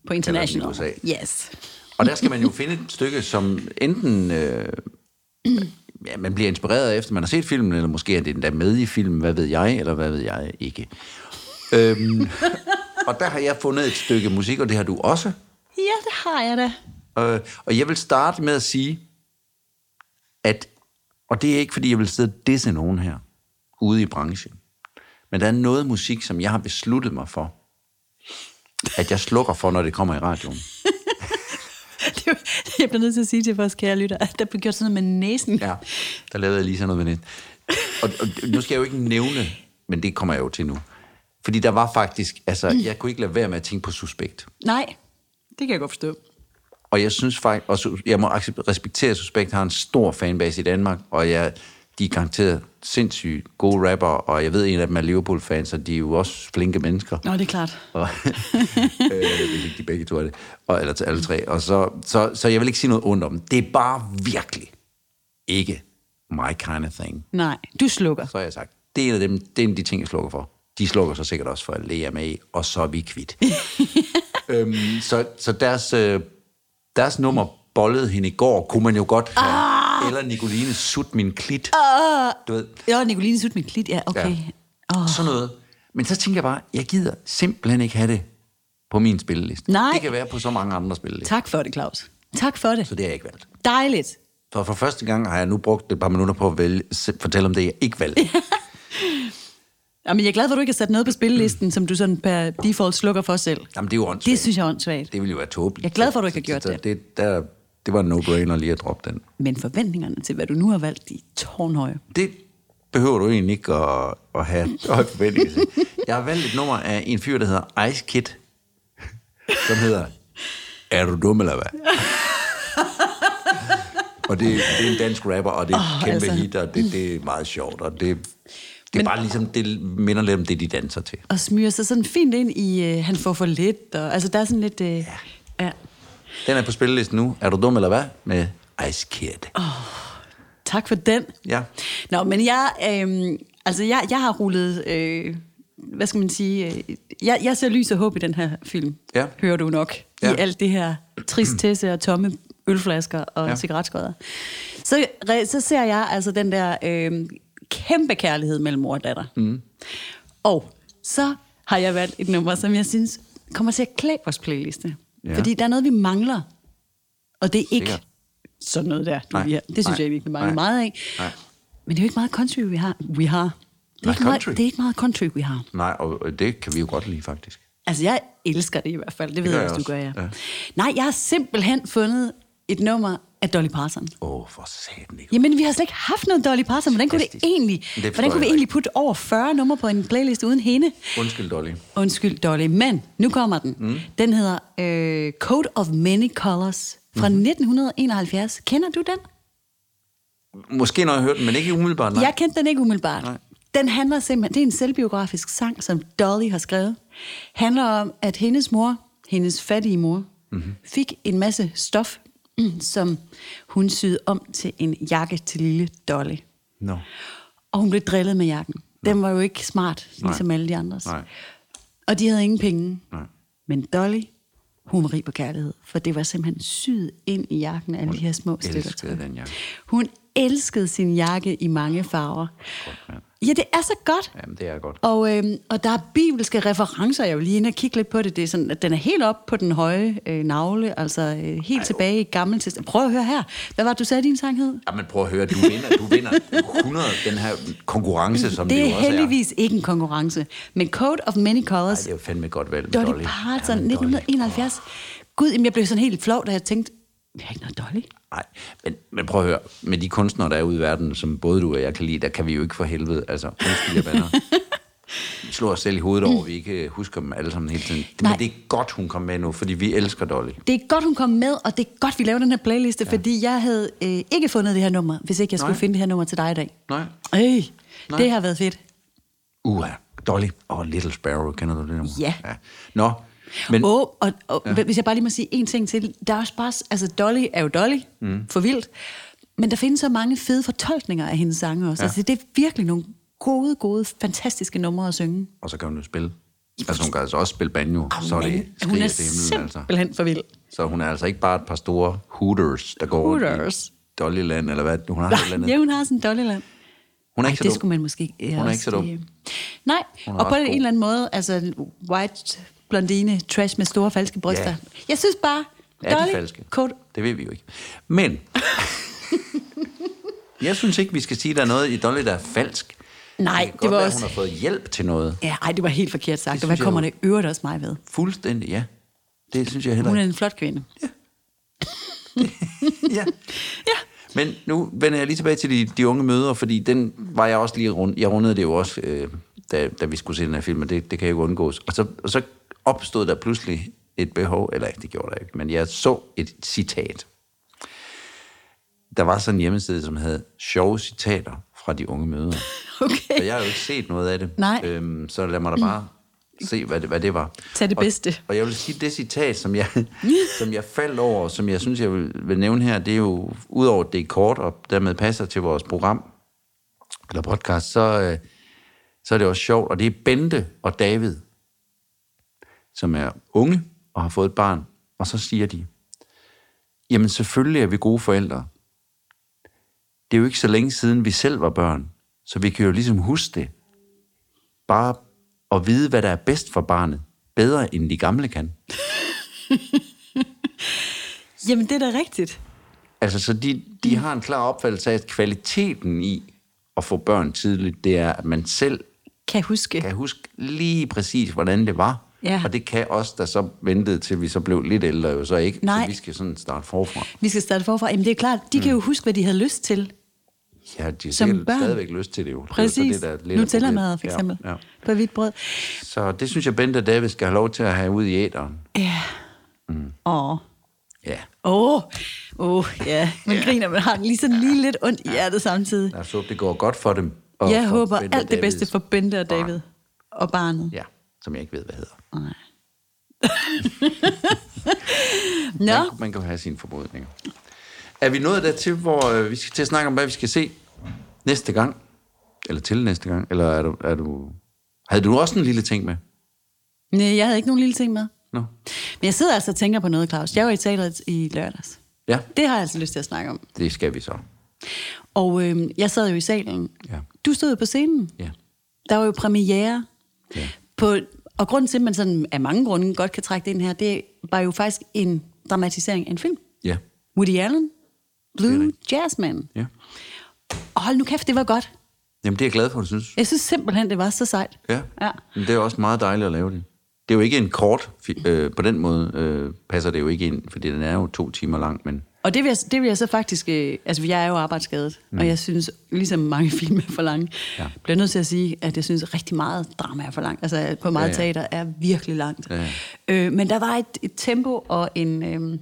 S2: på international.
S1: USA.
S2: Yes.
S1: Og der skal man jo finde et stykke, som enten... Øh, ja, man bliver inspireret af, efter, man har set filmen, eller måske er det endda med i filmen, hvad ved jeg, eller hvad ved jeg ikke. øhm, og der har jeg fundet et stykke musik, og det har du også.
S2: Ja, det har jeg da.
S1: Øh, og jeg vil starte med at sige, at, og det er ikke, fordi jeg vil sidde og disse nogen her, ude i branchen, men der er noget musik, som jeg har besluttet mig for, at jeg slukker for, når det kommer i radioen.
S2: Det er jo- Jeg bliver nødt til at sige til vores kære lytter, at der blev gjort sådan noget med næsen.
S1: Ja, der lavede jeg lige sådan noget med det. Og, og nu skal jeg jo ikke nævne, men det kommer jeg jo til nu. Fordi der var faktisk, altså, jeg kunne ikke lade være med at tænke på suspekt.
S2: Nej, det kan jeg godt forstå.
S1: Og jeg synes faktisk, og su- jeg må accept- respektere, at Suspekt har en stor fanbase i Danmark, og jeg de er garanteret sindssygt gode rapper, og jeg ved, en af dem er Liverpool-fans, og de er jo også flinke mennesker.
S2: Nå, det er klart.
S1: Og, øh, hvis ikke de begge to er det. Og, eller til alle tre. Og så, så, så jeg vil ikke sige noget ondt om dem. Det er bare virkelig ikke my kind of thing.
S2: Nej, du slukker.
S1: Så har jeg sagt, det er en af, dem, det er en af de ting, jeg slukker for. De slukker så sikkert også for LMA, og så er vi kvitt. øhm, så, så deres, øh, deres nummer bollede hende i går, kunne man jo godt have. Ah! Eller Nicoline sut min klit. Ah! Du ved,
S2: Jo, Nicoline sut min klit. Ja, okay.
S1: Ja.
S2: Ja.
S1: oh. sådan noget. Men så tænker jeg bare, jeg gider simpelthen ikke have det på min spilleliste.
S2: Nej.
S1: Det kan være på så mange andre spillelister,
S2: Tak for det, Claus. Tak for det.
S1: så det har jeg ikke valgt.
S2: Dejligt.
S1: Så for første gang har jeg nu brugt et par minutter på at vælge, se- fortælle om det, jeg ikke valgte.
S2: Jamen, jeg er glad for, at du ikke har sat noget på spillelisten, som du sådan per default slukker for selv.
S1: Jamen, det er jo åndssvagt.
S2: Det synes jeg er åndssvagt.
S1: Det ville jo være tåbeligt.
S2: Jeg er glad for, at du ikke har gjort
S1: Så- så- så det, der, det var en no-brainer lige at droppe den.
S2: Men forventningerne til, hvad du nu har valgt, de er tårnhøje.
S1: Det behøver du egentlig ikke at, at have høje forventninger til. Jeg har valgt et nummer af en fyr, der hedder Ice Kid, som hedder Er du dum eller hvad? og det, det er en dansk rapper, og det er et
S2: Åh,
S1: oh, kæmpe
S2: altså.
S1: altså. hit, og det, det er meget sjovt, og det, det er
S2: Men-
S1: Men... bare ligesom, det minder lidt om det, de danser til.
S2: Og smyger sig sådan fint ind i, øh, han får for lidt, og altså der er sådan lidt... Øh, ja. ja.
S1: Den er på spillelisten nu, Er du dum eller hvad? Med Ice Kid. Oh.
S2: Tak for den.
S1: Ja.
S2: Nå, men jeg, øh, altså jeg, jeg har rullet, øh, hvad skal man sige, øh, jeg, jeg ser lys og håb i den her film,
S1: Ja.
S2: hører du nok, ja.
S1: Ja.
S2: i alt det her tristesse og tomme ølflasker og ja.
S1: Ja.
S2: cigaretskodder. Så, re- så ser jeg altså den der øh, kæmpe kærlighed mellem mor og datter. Mm. Og så har jeg valgt et nummer, som jeg synes kommer til at klæde vores playliste. Ja.
S1: Ja.
S2: Fordi der er noget, vi mangler. Og det er ikke
S1: Sikkert.
S2: sådan noget der.
S1: Nej.
S2: Nej. Det synes
S1: Nej.
S2: jeg virkelig mangler
S1: Nej.
S2: meget af.
S1: Nej.
S2: Men det er jo ikke meget country, vi har. Vi har. Det, er
S1: Nej,
S2: ikke meget,
S1: country.
S2: det er ikke meget country, vi har.
S1: Nej, og og det kan vi jo godt lide, faktisk.
S2: Altså, jeg elsker det i hvert fald. Det ved
S1: gør
S2: jeg,
S1: jeg
S2: hvis du gør, ja.
S1: også.
S2: ja.
S1: Ja.
S2: Nej, jeg har simpelthen fundet et nummer af Dolly Parton.
S1: Åh, oh, for satan, Nico.
S2: Jamen, vi har slet ikke haft noget Dolly Parton. Hvordan kunne, det
S1: Fantastisk.
S2: egentlig,
S1: Det forstår
S2: hvordan kunne vi
S1: jeg
S2: egentlig putte over 40 numre på en playlist uden hende?
S1: Undskyld, Dolly.
S2: Undskyld, Dolly, men nu kommer den. Mm. Den hedder øh, Code of Many Colors fra
S1: Mhm.
S2: mm. 1971. Kender du den?
S1: Måske når jeg hørte den, men ikke umiddelbart. Nej.
S2: Jeg kendte den ikke umiddelbart. Nej.
S1: Nej.
S2: Den handler simpelthen, det er en selvbiografisk sang, som Dolly har skrevet, handler om, at hendes mor, hendes fattige mor,
S1: Mhm.
S2: mm-hmm. fik en masse stof, som hun syede om til en jakke til lille Dolly.
S1: No.
S2: Og hun blev drillet med jakken. Den var jo ikke smart, ligesom
S1: Nej.
S2: alle de andres.
S1: Nej.
S2: Og de havde ingen penge.
S1: Nej.
S2: Men Dolly, hun var rig på kærlighed, for det var simpelthen syet ind i jakken af alle de her små stykker
S1: elskede
S2: tøj.
S1: den jakke.
S2: Hun elskede sin jakke i mange farver. Ja, det er så godt.
S1: Jamen, det er godt.
S2: Og, øh, og der er bibelske referencer, jeg vil lige ind og kigge lidt på det. det er sådan, at den er helt op på den høje øh, navle, altså øh, helt Ej, tilbage i gamle test. Prøv at høre her. Hvad var det, du sagde, din sang hed?
S1: Jamen, prøv at høre, du vinder, du vinder 100 den her konkurrence, som det,
S2: Det
S1: jo
S2: er
S1: også
S2: heldigvis ikke en konkurrence, men Code of Many
S1: er. Ej,
S2: Colors,
S1: det er jo fandme et godt valg med
S2: Dolly
S1: Dolly.
S2: Parton,
S1: Jamen, Dolly.
S2: 1971. Gud, jamen, jeg blev sådan helt flov, da jeg tænkte, vi har ikke noget Dolly.
S1: Nej, men, men prøv at høre, med de kunstnere, der er ude i verden, som både du og jeg kan lide, der kan vi jo ikke for helvede, altså, undskyld jeg banner. Vi slår os selv i hovedet over, at vi ikke øh, husker dem alle sammen hele tiden.
S2: Nej.
S1: Men det er godt, hun kom med nu, fordi vi elsker Dolly.
S2: Det er godt, hun kom med, og det er godt, vi laver den her playliste, ja. fordi jeg havde øh, ikke fundet det her nummer, hvis ikke jeg skulle Nej.
S1: Nej.
S2: finde det her nummer til dig i dag.
S1: Nej.
S2: Øh,
S1: Nej.
S2: det har været fedt.
S1: Uha, Dolly og Little Sparrow, kender du det nummer?
S2: Ja.
S1: Nå, men...
S2: Åh, og, og ja. hvis jeg bare lige må sige en ting til. Der er også bare, altså Dolly er jo Dolly, mm. for vildt. Men der findes så mange fede fortolkninger af hendes sange også. Ja.
S1: Ja.
S2: Altså det er virkelig nogle gode, gode, fantastiske numre at synge.
S1: og så kan hun jo spille. Altså hun kan altså også spille banjo, oh, så er
S2: Men
S1: det
S2: hun
S1: skriger
S2: er
S1: til himlen, altså.
S2: simpelthen for vild.
S1: Så hun er altså ikke bare et par store hooters, der går rundt
S2: Hooters.
S1: i Dollyland, eller hvad, hun har et eller andet.
S2: ja, hun har sådan en Dollyland.
S1: Hun er
S2: Ej,
S1: ikke så
S2: det
S1: dum.
S2: skulle man måske... Ja,
S1: Hun er
S2: også
S1: ikke så dum.
S2: lige- Nej,
S1: Hun er
S2: og på
S1: ret
S2: en
S1: god.
S2: eller anden måde, altså white blondine, trash med store falske bryster.
S1: Ja.
S2: Jeg synes bare,
S1: Er de
S2: Dolly,
S1: falske?
S2: Kurt,
S1: Det ved vi jo ikke. Men, jeg synes ikke, vi skal sige, at der er noget i Dolly, der er falsk.
S2: Nej,
S1: kan
S2: det
S1: godt
S2: var
S1: være,
S2: også-
S1: hun har fået hjælp til noget.
S2: ja, ej, det var helt forkert sagt,
S1: Det
S2: og hvad
S1: synes jeg
S2: kommer
S1: jo.
S2: det øvrigt også mig ved?
S1: Fuldstændig, ja. Det synes jeg heller
S2: Hun er
S1: ikke.
S2: en flot kvinde.
S1: Ja. Men nu vender jeg lige tilbage til de, de unge møder, fordi den var jeg også lige rundt. Jeg rundede det jo også, øh, da, da vi skulle se den her film, og det, det kan jo ikke undgås. Og så, og så opstod der pludselig et behov, eller det gjorde der ikke, men jeg så et citat. Der var sådan en hjemmeside, som havde sjove citater fra de unge møder.
S2: Okay.
S1: Og jeg har jo ikke set noget af det.
S2: Nej.
S1: Øhm, så lad mig da bare se, hvad det, hvad det var.
S2: Tag det
S1: og,
S2: bedste.
S1: Og jeg vil sige, det citat, som jeg, som jeg faldt over, som jeg synes, jeg vil, vil nævne her, det er jo, udover at det er kort, og dermed passer til vores program, eller podcast, så, øh, så er det også sjovt. Og det er Bente og David, som er unge og har fået et barn. Og så siger de, jamen selvfølgelig er vi gode forældre. Det er jo ikke så længe siden, vi selv var børn, så vi kan jo ligesom huske det. Bare at vide, hvad der er bedst for barnet, bedre end de gamle kan.
S2: Jamen, det er da rigtigt.
S1: Altså, så de, de har en klar opfattelse af, at kvaliteten i at få børn tidligt, det er, at man selv
S2: Kan huske.
S1: kan huske lige præcis, hvordan det var.
S2: Ja.
S1: Og det kan os, der så ventede til vi så blev lidt ældre, jo så ikke.
S2: Nej.
S1: Så vi skal sådan starte forfra.
S2: Vi skal starte forfra. Jamen, det er klart, de mm. kan jo huske, hvad de havde lyst til.
S1: Ja, de har
S2: Som
S1: sikkert
S2: børn.
S1: stadigvæk lyst til det jo.
S2: Præcis.
S1: Det er jo så det, der lidt er
S2: Nutella-mad,
S1: problemet.
S2: for eksempel.
S1: Ja, ja.
S2: På hvidt brød.
S1: Så det synes jeg, Bente og David skal have lov til at have ud i æderen.
S2: Ja. Mm. Åh.
S1: Ja,
S2: Åh, åh, ja. Man griner, man har lige sådan lige lidt ondt i hjertet samtidig.
S1: lad os håbe, det går godt for dem. Og
S2: Jeg
S1: for
S2: håber
S1: Bente og
S2: alt det bedste
S1: Davids
S2: for Bente og
S1: barn.
S2: David og barnet.
S1: Ja, som jeg ikke ved, hvad hedder.
S2: Nej.
S1: Man,
S2: Nå,
S1: kunne- man kan jo have sine forbodninger. Er vi nået dertil, hvor øh, vi skal til at snakke om, hvad vi skal se næste gang? Eller til næste gang? Eller er du, er du... Havde du også en lille ting med?
S2: nej, jeg havde ikke nogen lille ting med.
S1: No.
S2: Men jeg sidder altså og tænker på noget, Claus. Jeg var i teateret i lørdags.
S1: Ja,
S2: Det har jeg altså lyst til at snakke om.
S1: det skal vi så.
S2: Og øh, jeg sad jo i salen.
S1: Ja.
S2: Du stod jo på scenen.
S1: Ja.
S2: Der var jo premiere
S1: Ja.
S2: på... Og grunden til, at man sådan af mange grunde godt kan trække det ind her, det var jo faktisk en dramatisering af en film.
S1: Ja.
S2: Woody Allen, Blue Jazzman.
S1: ja.
S2: Og hold nu kæft, det var godt.
S1: Jamen, det er jeg glad for, du synes.
S2: Jeg synes simpelthen, det var så sejt.
S1: Ja.
S2: ja.
S1: Men det er også meget dejligt at lave det. Det er jo ikke en kort... fi- Øh, på den måde øh, passer det jo ikke ind, fordi den er jo to timer lang, men...
S2: Og det vil, jeg, det vil jeg så faktisk... Øh, altså, jeg er jo arbejdsskadet, mm. og jeg synes, ligesom mange film er for lange,
S1: Ja.
S2: ja. bliver nødt til at sige, at jeg synes, rigtig meget drama er for langt. Altså, på meget
S1: Ja,
S2: ja,
S1: ja.
S2: ja. teater er virkelig langt.
S1: Ja, ja.
S2: Øh, men der var et, et tempo og en, øh,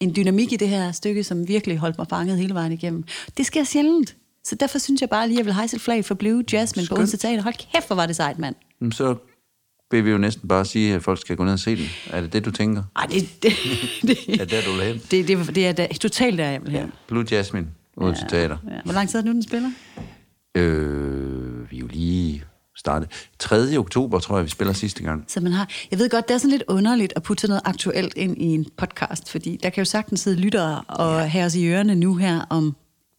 S2: en dynamik i det her stykke, som virkelig holdt mig fanget hele vejen igennem. Det sker sjældent. Så derfor synes jeg bare lige, at jeg vil hejse et flag for Blue Jasmine Skønt. på
S1: Skønt.
S2: Odense Teater. Hold kæft, hvor var det sejt, mand.
S1: Jamen, mm, Så vil vi jo næsten bare sige, at folk skal gå ned og se den. Er det det, du tænker?
S2: Ej, det, det, det,
S1: Er
S2: det,
S1: det, du vil hen?
S2: det, det, det er da, totalt der, jeg vil have.
S1: Blue Jasmine, Odense ja. Teater.
S2: Ja. Hvor lang tid er det nu, den spiller?
S1: Øh, vi er jo lige startet. 3. oktober, tror jeg, vi spiller sidste gang.
S2: Så man har, jeg ved godt, det er sådan lidt underligt at putte sådan noget aktuelt ind i en podcast, fordi der kan jo sagtens sidde lyttere og ja. have os i ørerne nu her om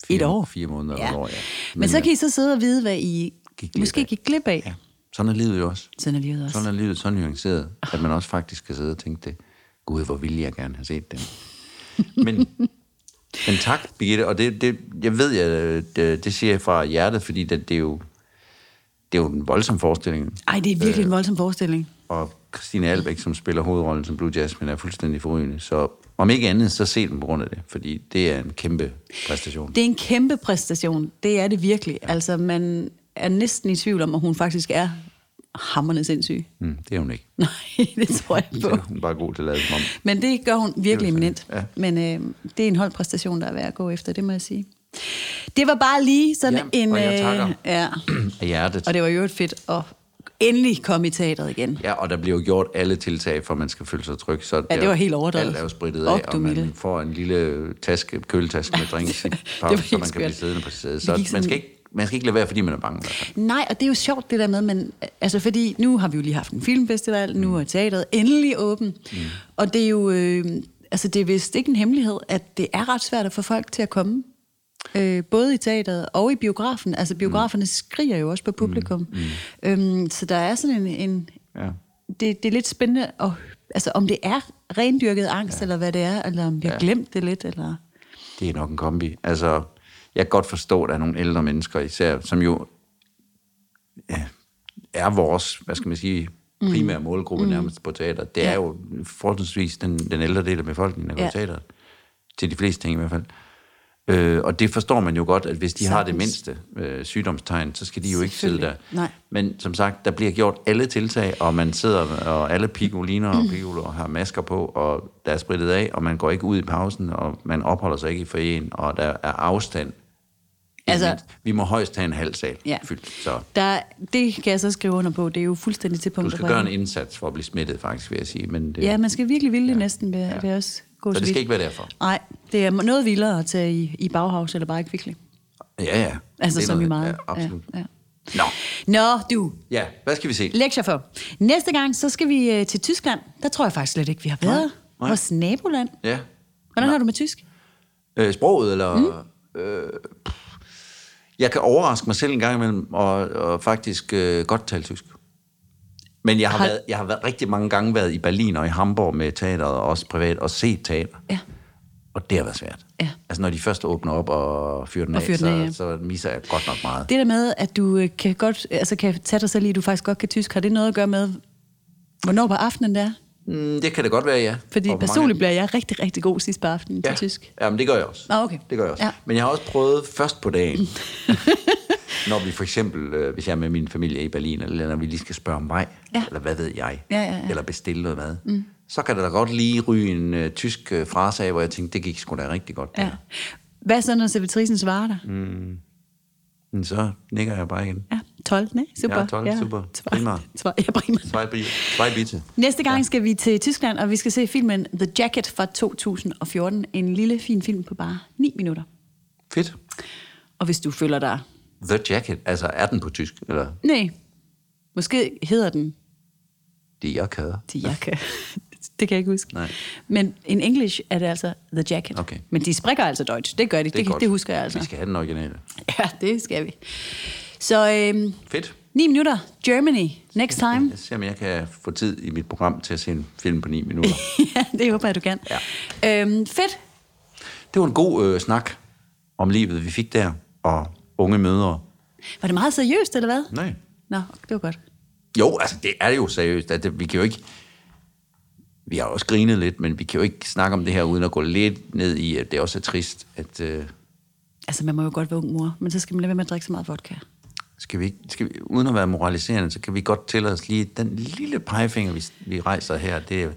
S1: Fire-
S2: et år.
S1: fire måneder eller
S2: ja.
S1: et år, ja. øh,
S2: Men, Men så kan I så sidde og vide, hvad I
S1: Gik glip
S2: måske
S1: af.
S2: gik glip af. Ja.
S1: Sådan er livet jo også.
S2: Sådan er livet også.
S1: Sådan er livet så nuanceret, at man også faktisk kan sidde og tænke det. Gud, hvor ville jeg gerne have set dem. Men, men tak, Birgitte. Og det, det, jeg ved, jeg, øh, det, det siger jeg fra hjertet, fordi det, det, er jo, det er jo en voldsom forestilling.
S2: Ej, det er virkelig
S1: Øh.
S2: en voldsom forestilling.
S1: og Christine Albæk, som spiller hovedrollen som Blue Jasmine, er fuldstændig forrygende. Så om ikke andet, så se den på grund af det, fordi det er en kæmpe præstation.
S2: Det er en kæmpe præstation. Det er det virkelig. Ja. Altså, man er næsten i tvivl om, at hun faktisk er hammerne sindssyg.
S1: Mm, det er hun ikke.
S2: Nej, det tror jeg ikke
S1: Det
S2: på.
S1: er hun bare god til at lade som om.
S2: Men det gør hun virkelig
S1: Det vil jeg
S2: eminent. Ja. Men øh, det er en holdpræstation, der er værd at gå efter, det må jeg sige. Det var bare lige sådan
S1: Ja,
S2: en... øh,
S1: og jeg takker.
S2: ja.
S1: Af hjertet.
S2: Og det var jo et fedt at endelig komme i teateret igen.
S1: Ja, og der bliver jo gjort alle tiltag, for at man skal føle sig tryg. Så
S2: Ja, det var helt overdrevet.
S1: Alt er jo spritet af,
S2: Op, du
S1: og man
S2: milde.
S1: får en lille taske, køletaske med drinks, i
S2: var
S1: pausen,
S2: helt
S1: så man kan
S2: skørt.
S1: blive siddende på sædet.
S2: Vi
S1: Så
S2: gik
S1: man
S2: sådan-
S1: skal, ikke, man skal ikke lade være, fordi man er bange. i hvert fald.
S2: Nej, og det er jo sjovt det der med, men, altså, fordi nu har vi jo lige haft en filmfestival, mm. nu er teateret endelig åben. Mm. Og det er jo... Øh, altså, det er vist ikke en hemmelighed, at det er ret svært at få folk til at komme. Øh, både i teateret og i biografen. Altså, biograferne mm. skriger jo også på publikum. Mm. Mm. Øhm, så der er sådan en, en,
S1: Ja.
S2: det, det er lidt spændende, at, altså, om det er rendyrket angst, ja. eller hvad det er, eller om vi har
S1: Ja.
S2: glemt det lidt. Eller...
S1: Det er nok en kombi. Altså, jeg kan godt forstå, at der er nogle ældre mennesker især, som jo ja, er vores, hvad skal man sige, primære målgruppe mm. nærmest på teateret. Det er jo forholdsvis den, den ældre del af befolkningen, der går ja.
S2: Ja.
S1: i teateret. Til de fleste ting i hvert fald. Øh, og det forstår man jo godt, at hvis de har det
S2: Sagtens.
S1: mindste øh, sygdomstegn, så skal de jo ikke sidde der.
S2: Selvfølgelig. Nej.
S1: Men som sagt, der bliver gjort alle tiltag, og man sidder, og alle pigoliner og pigoler har masker på, og der er spritet af, og man går ikke ud i pausen, og man opholder sig ikke i foreningen, og der er afstand
S2: Altså-
S1: Altså, vi må højst have en halv sal
S2: Ja.
S1: ja. fyldt, så
S2: Der, det kan jeg så skrive under på. Det er jo fuldstændig til
S1: du
S2: punktet.
S1: skal gøre en indsats for at blive smittet, faktisk, vil jeg sige. Men det,
S2: Ja, man skal virkelig ville det ja. næsten. Vil, ja. vil jeg også gå
S1: så det
S2: vidt.
S1: skal ikke være derfor.
S2: Nej, det er noget vildere at tage i, i baghavs eller bare i kvikle.
S1: Ja, ja.
S2: Altså
S1: Det er
S2: som i
S1: noget-
S2: meget.
S1: Ja, absolut.
S2: Ja, ja.
S1: Nå,
S2: Nå, du.
S1: ja, hvad skal vi se?
S2: Lektier for. Næste gang, så skal vi øh, til Tyskland. Der tror jeg faktisk slet ikke, vi har været.
S1: nej.
S2: Vores naboland.
S1: Ja.
S2: Hvordan har du med tysk?
S1: Øh, sproget, eller... Mm. Øh, pff. jeg kan overraske mig selv en gang imellem, og, og faktisk øh, godt tale tysk. Men jeg har,
S2: Har-
S1: været, jeg har været rigtig mange gange været i Berlin og i Hamburg med teateret, og også privat, og set teater.
S2: Ja.
S1: Og det har været svært.
S2: Ja.
S1: Altså, når de først åbner op og fyrer den,
S2: Og
S1: og
S2: fyrer
S1: af,
S2: den
S1: så,
S2: af, ja.
S1: så misser jeg godt nok meget.
S2: Det der med, at du øh, kan, godt, altså, kan tage dig selv i, at du faktisk godt kan tysk, har det noget at gøre med, hvornår på aftenen det er?
S1: Mm, det kan det godt være, ja.
S2: Fordi
S1: Og hvor mange-
S2: personligt bliver jeg rigtig, rigtig god sidst på aftenen ja.
S1: ja.
S2: til tysk.
S1: Ja, men det gør jeg også.
S2: Nå, okay.
S1: Det gør jeg også.
S2: Ja.
S1: Ja. Men jeg har også prøvet først på dagen. når vi for eksempel, øh, hvis jeg er med min familie i Berlin, eller når vi lige skal spørge om vej,
S2: Ja.
S1: eller hvad ved jeg,
S2: Ja, ja, ja.
S1: eller bestille noget mad, mm. så kan der da godt lige ryge en øh, tysk øh, frase af, hvor jeg tænkte, det gik sgu da rigtig godt. det
S2: Ja.
S1: her.
S2: Hvad så, når servitrisen svarer dig? Mm.
S1: Men så nikker jeg bare igen.
S2: Ja, 12, ne? Super.
S1: Ja, 12, super.
S2: Zwei-
S1: Prima.
S2: zwei- Ja, prima.
S1: Svej bitte.
S2: Næste gang skal vi til Tyskland, og vi skal se filmen The Jacket fra 2014. En lille, fin film på bare 9 minutter.
S1: Fedt.
S2: Og hvis du føler dig...
S1: The Jacket, altså er den på tysk, eller
S2: Nej, måske hedder den
S1: det jeg kæder?
S2: De Jakke. Det kan jeg ikke huske.
S1: Nej.
S2: Men in English er det altså The Jacket.
S1: Okay.
S2: Men de springer altså Deutsch. Det gør de. Det,
S1: er
S2: det,
S1: godt.
S2: det husker jeg altså.
S1: Vi skal have den originale.
S2: Ja, det skal vi. Så øhm,
S1: Fedt.
S2: 9 minutter. Germany. Next time.
S1: Jeg ser, om jeg kan få tid i mit program til at se en film på 9 minutter.
S2: ja, det håber jeg, du kan.
S1: Ja.
S2: Øhm, fedt.
S1: Det var en god øh, snak om livet, vi fik der, og unge mødre.
S2: Var det meget seriøst, eller hvad?
S1: Nej.
S2: Nå, det var godt.
S1: Jo, altså, det er jo seriøst. At det, vi kan jo ikke... Vi har også grinet lidt, men vi kan jo ikke snakke om det her, uden at gå lidt ned i, at det også er trist, at... Øh,
S2: Altså, man må jo godt være ung mor, men så skal man lade være med at drikke så meget vodka.
S1: skal vi, ikke- skal vi, uden at være moraliserende, så kan vi godt tillade os lige den lille pegefinger, vi, vi rejser her, det er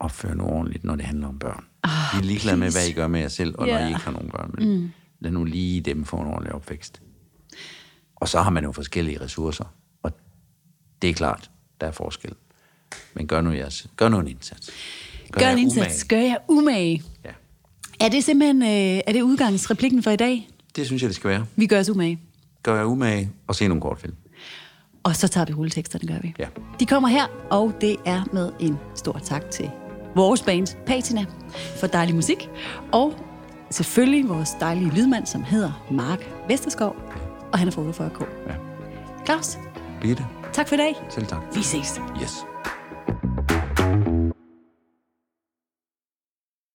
S1: opføre nu ordentligt, når det handler om børn. Oh, vi er ligeglade med, hvad I gør med jer selv, og
S2: Ah, Ja.
S1: når I ikke har nogen børn. Men mm. lad nu lige dem få en ordentlig opvækst. Og så har man jo forskellige ressourcer, og det er klart, der er forskel. Men gør nu, jeres, gør nu en indsats.
S2: Gør
S1: jer
S2: en indsats.
S1: umage.
S2: Gør jer umage.
S1: Ja.
S2: Er det simpelthen øh, er det udgangsreplikken for i dag?
S1: Det synes jeg, det skal være.
S2: Vi gør os umage.
S1: Gør jer umage og se nogle kortfilm.
S2: Og så tager vi rulleteksterne, gør vi.
S1: Ja.
S2: De kommer her, og det er med en stor tak til vores band Patina for dejlig musik. Og selvfølgelig vores dejlige lydmand, som hedder Mark Vesterskov, og han er fra 48K.
S1: Ja.
S2: Claus,
S1: Birte,
S2: tak for i dag.
S1: selv tak.
S2: Vi ses.
S1: Yes.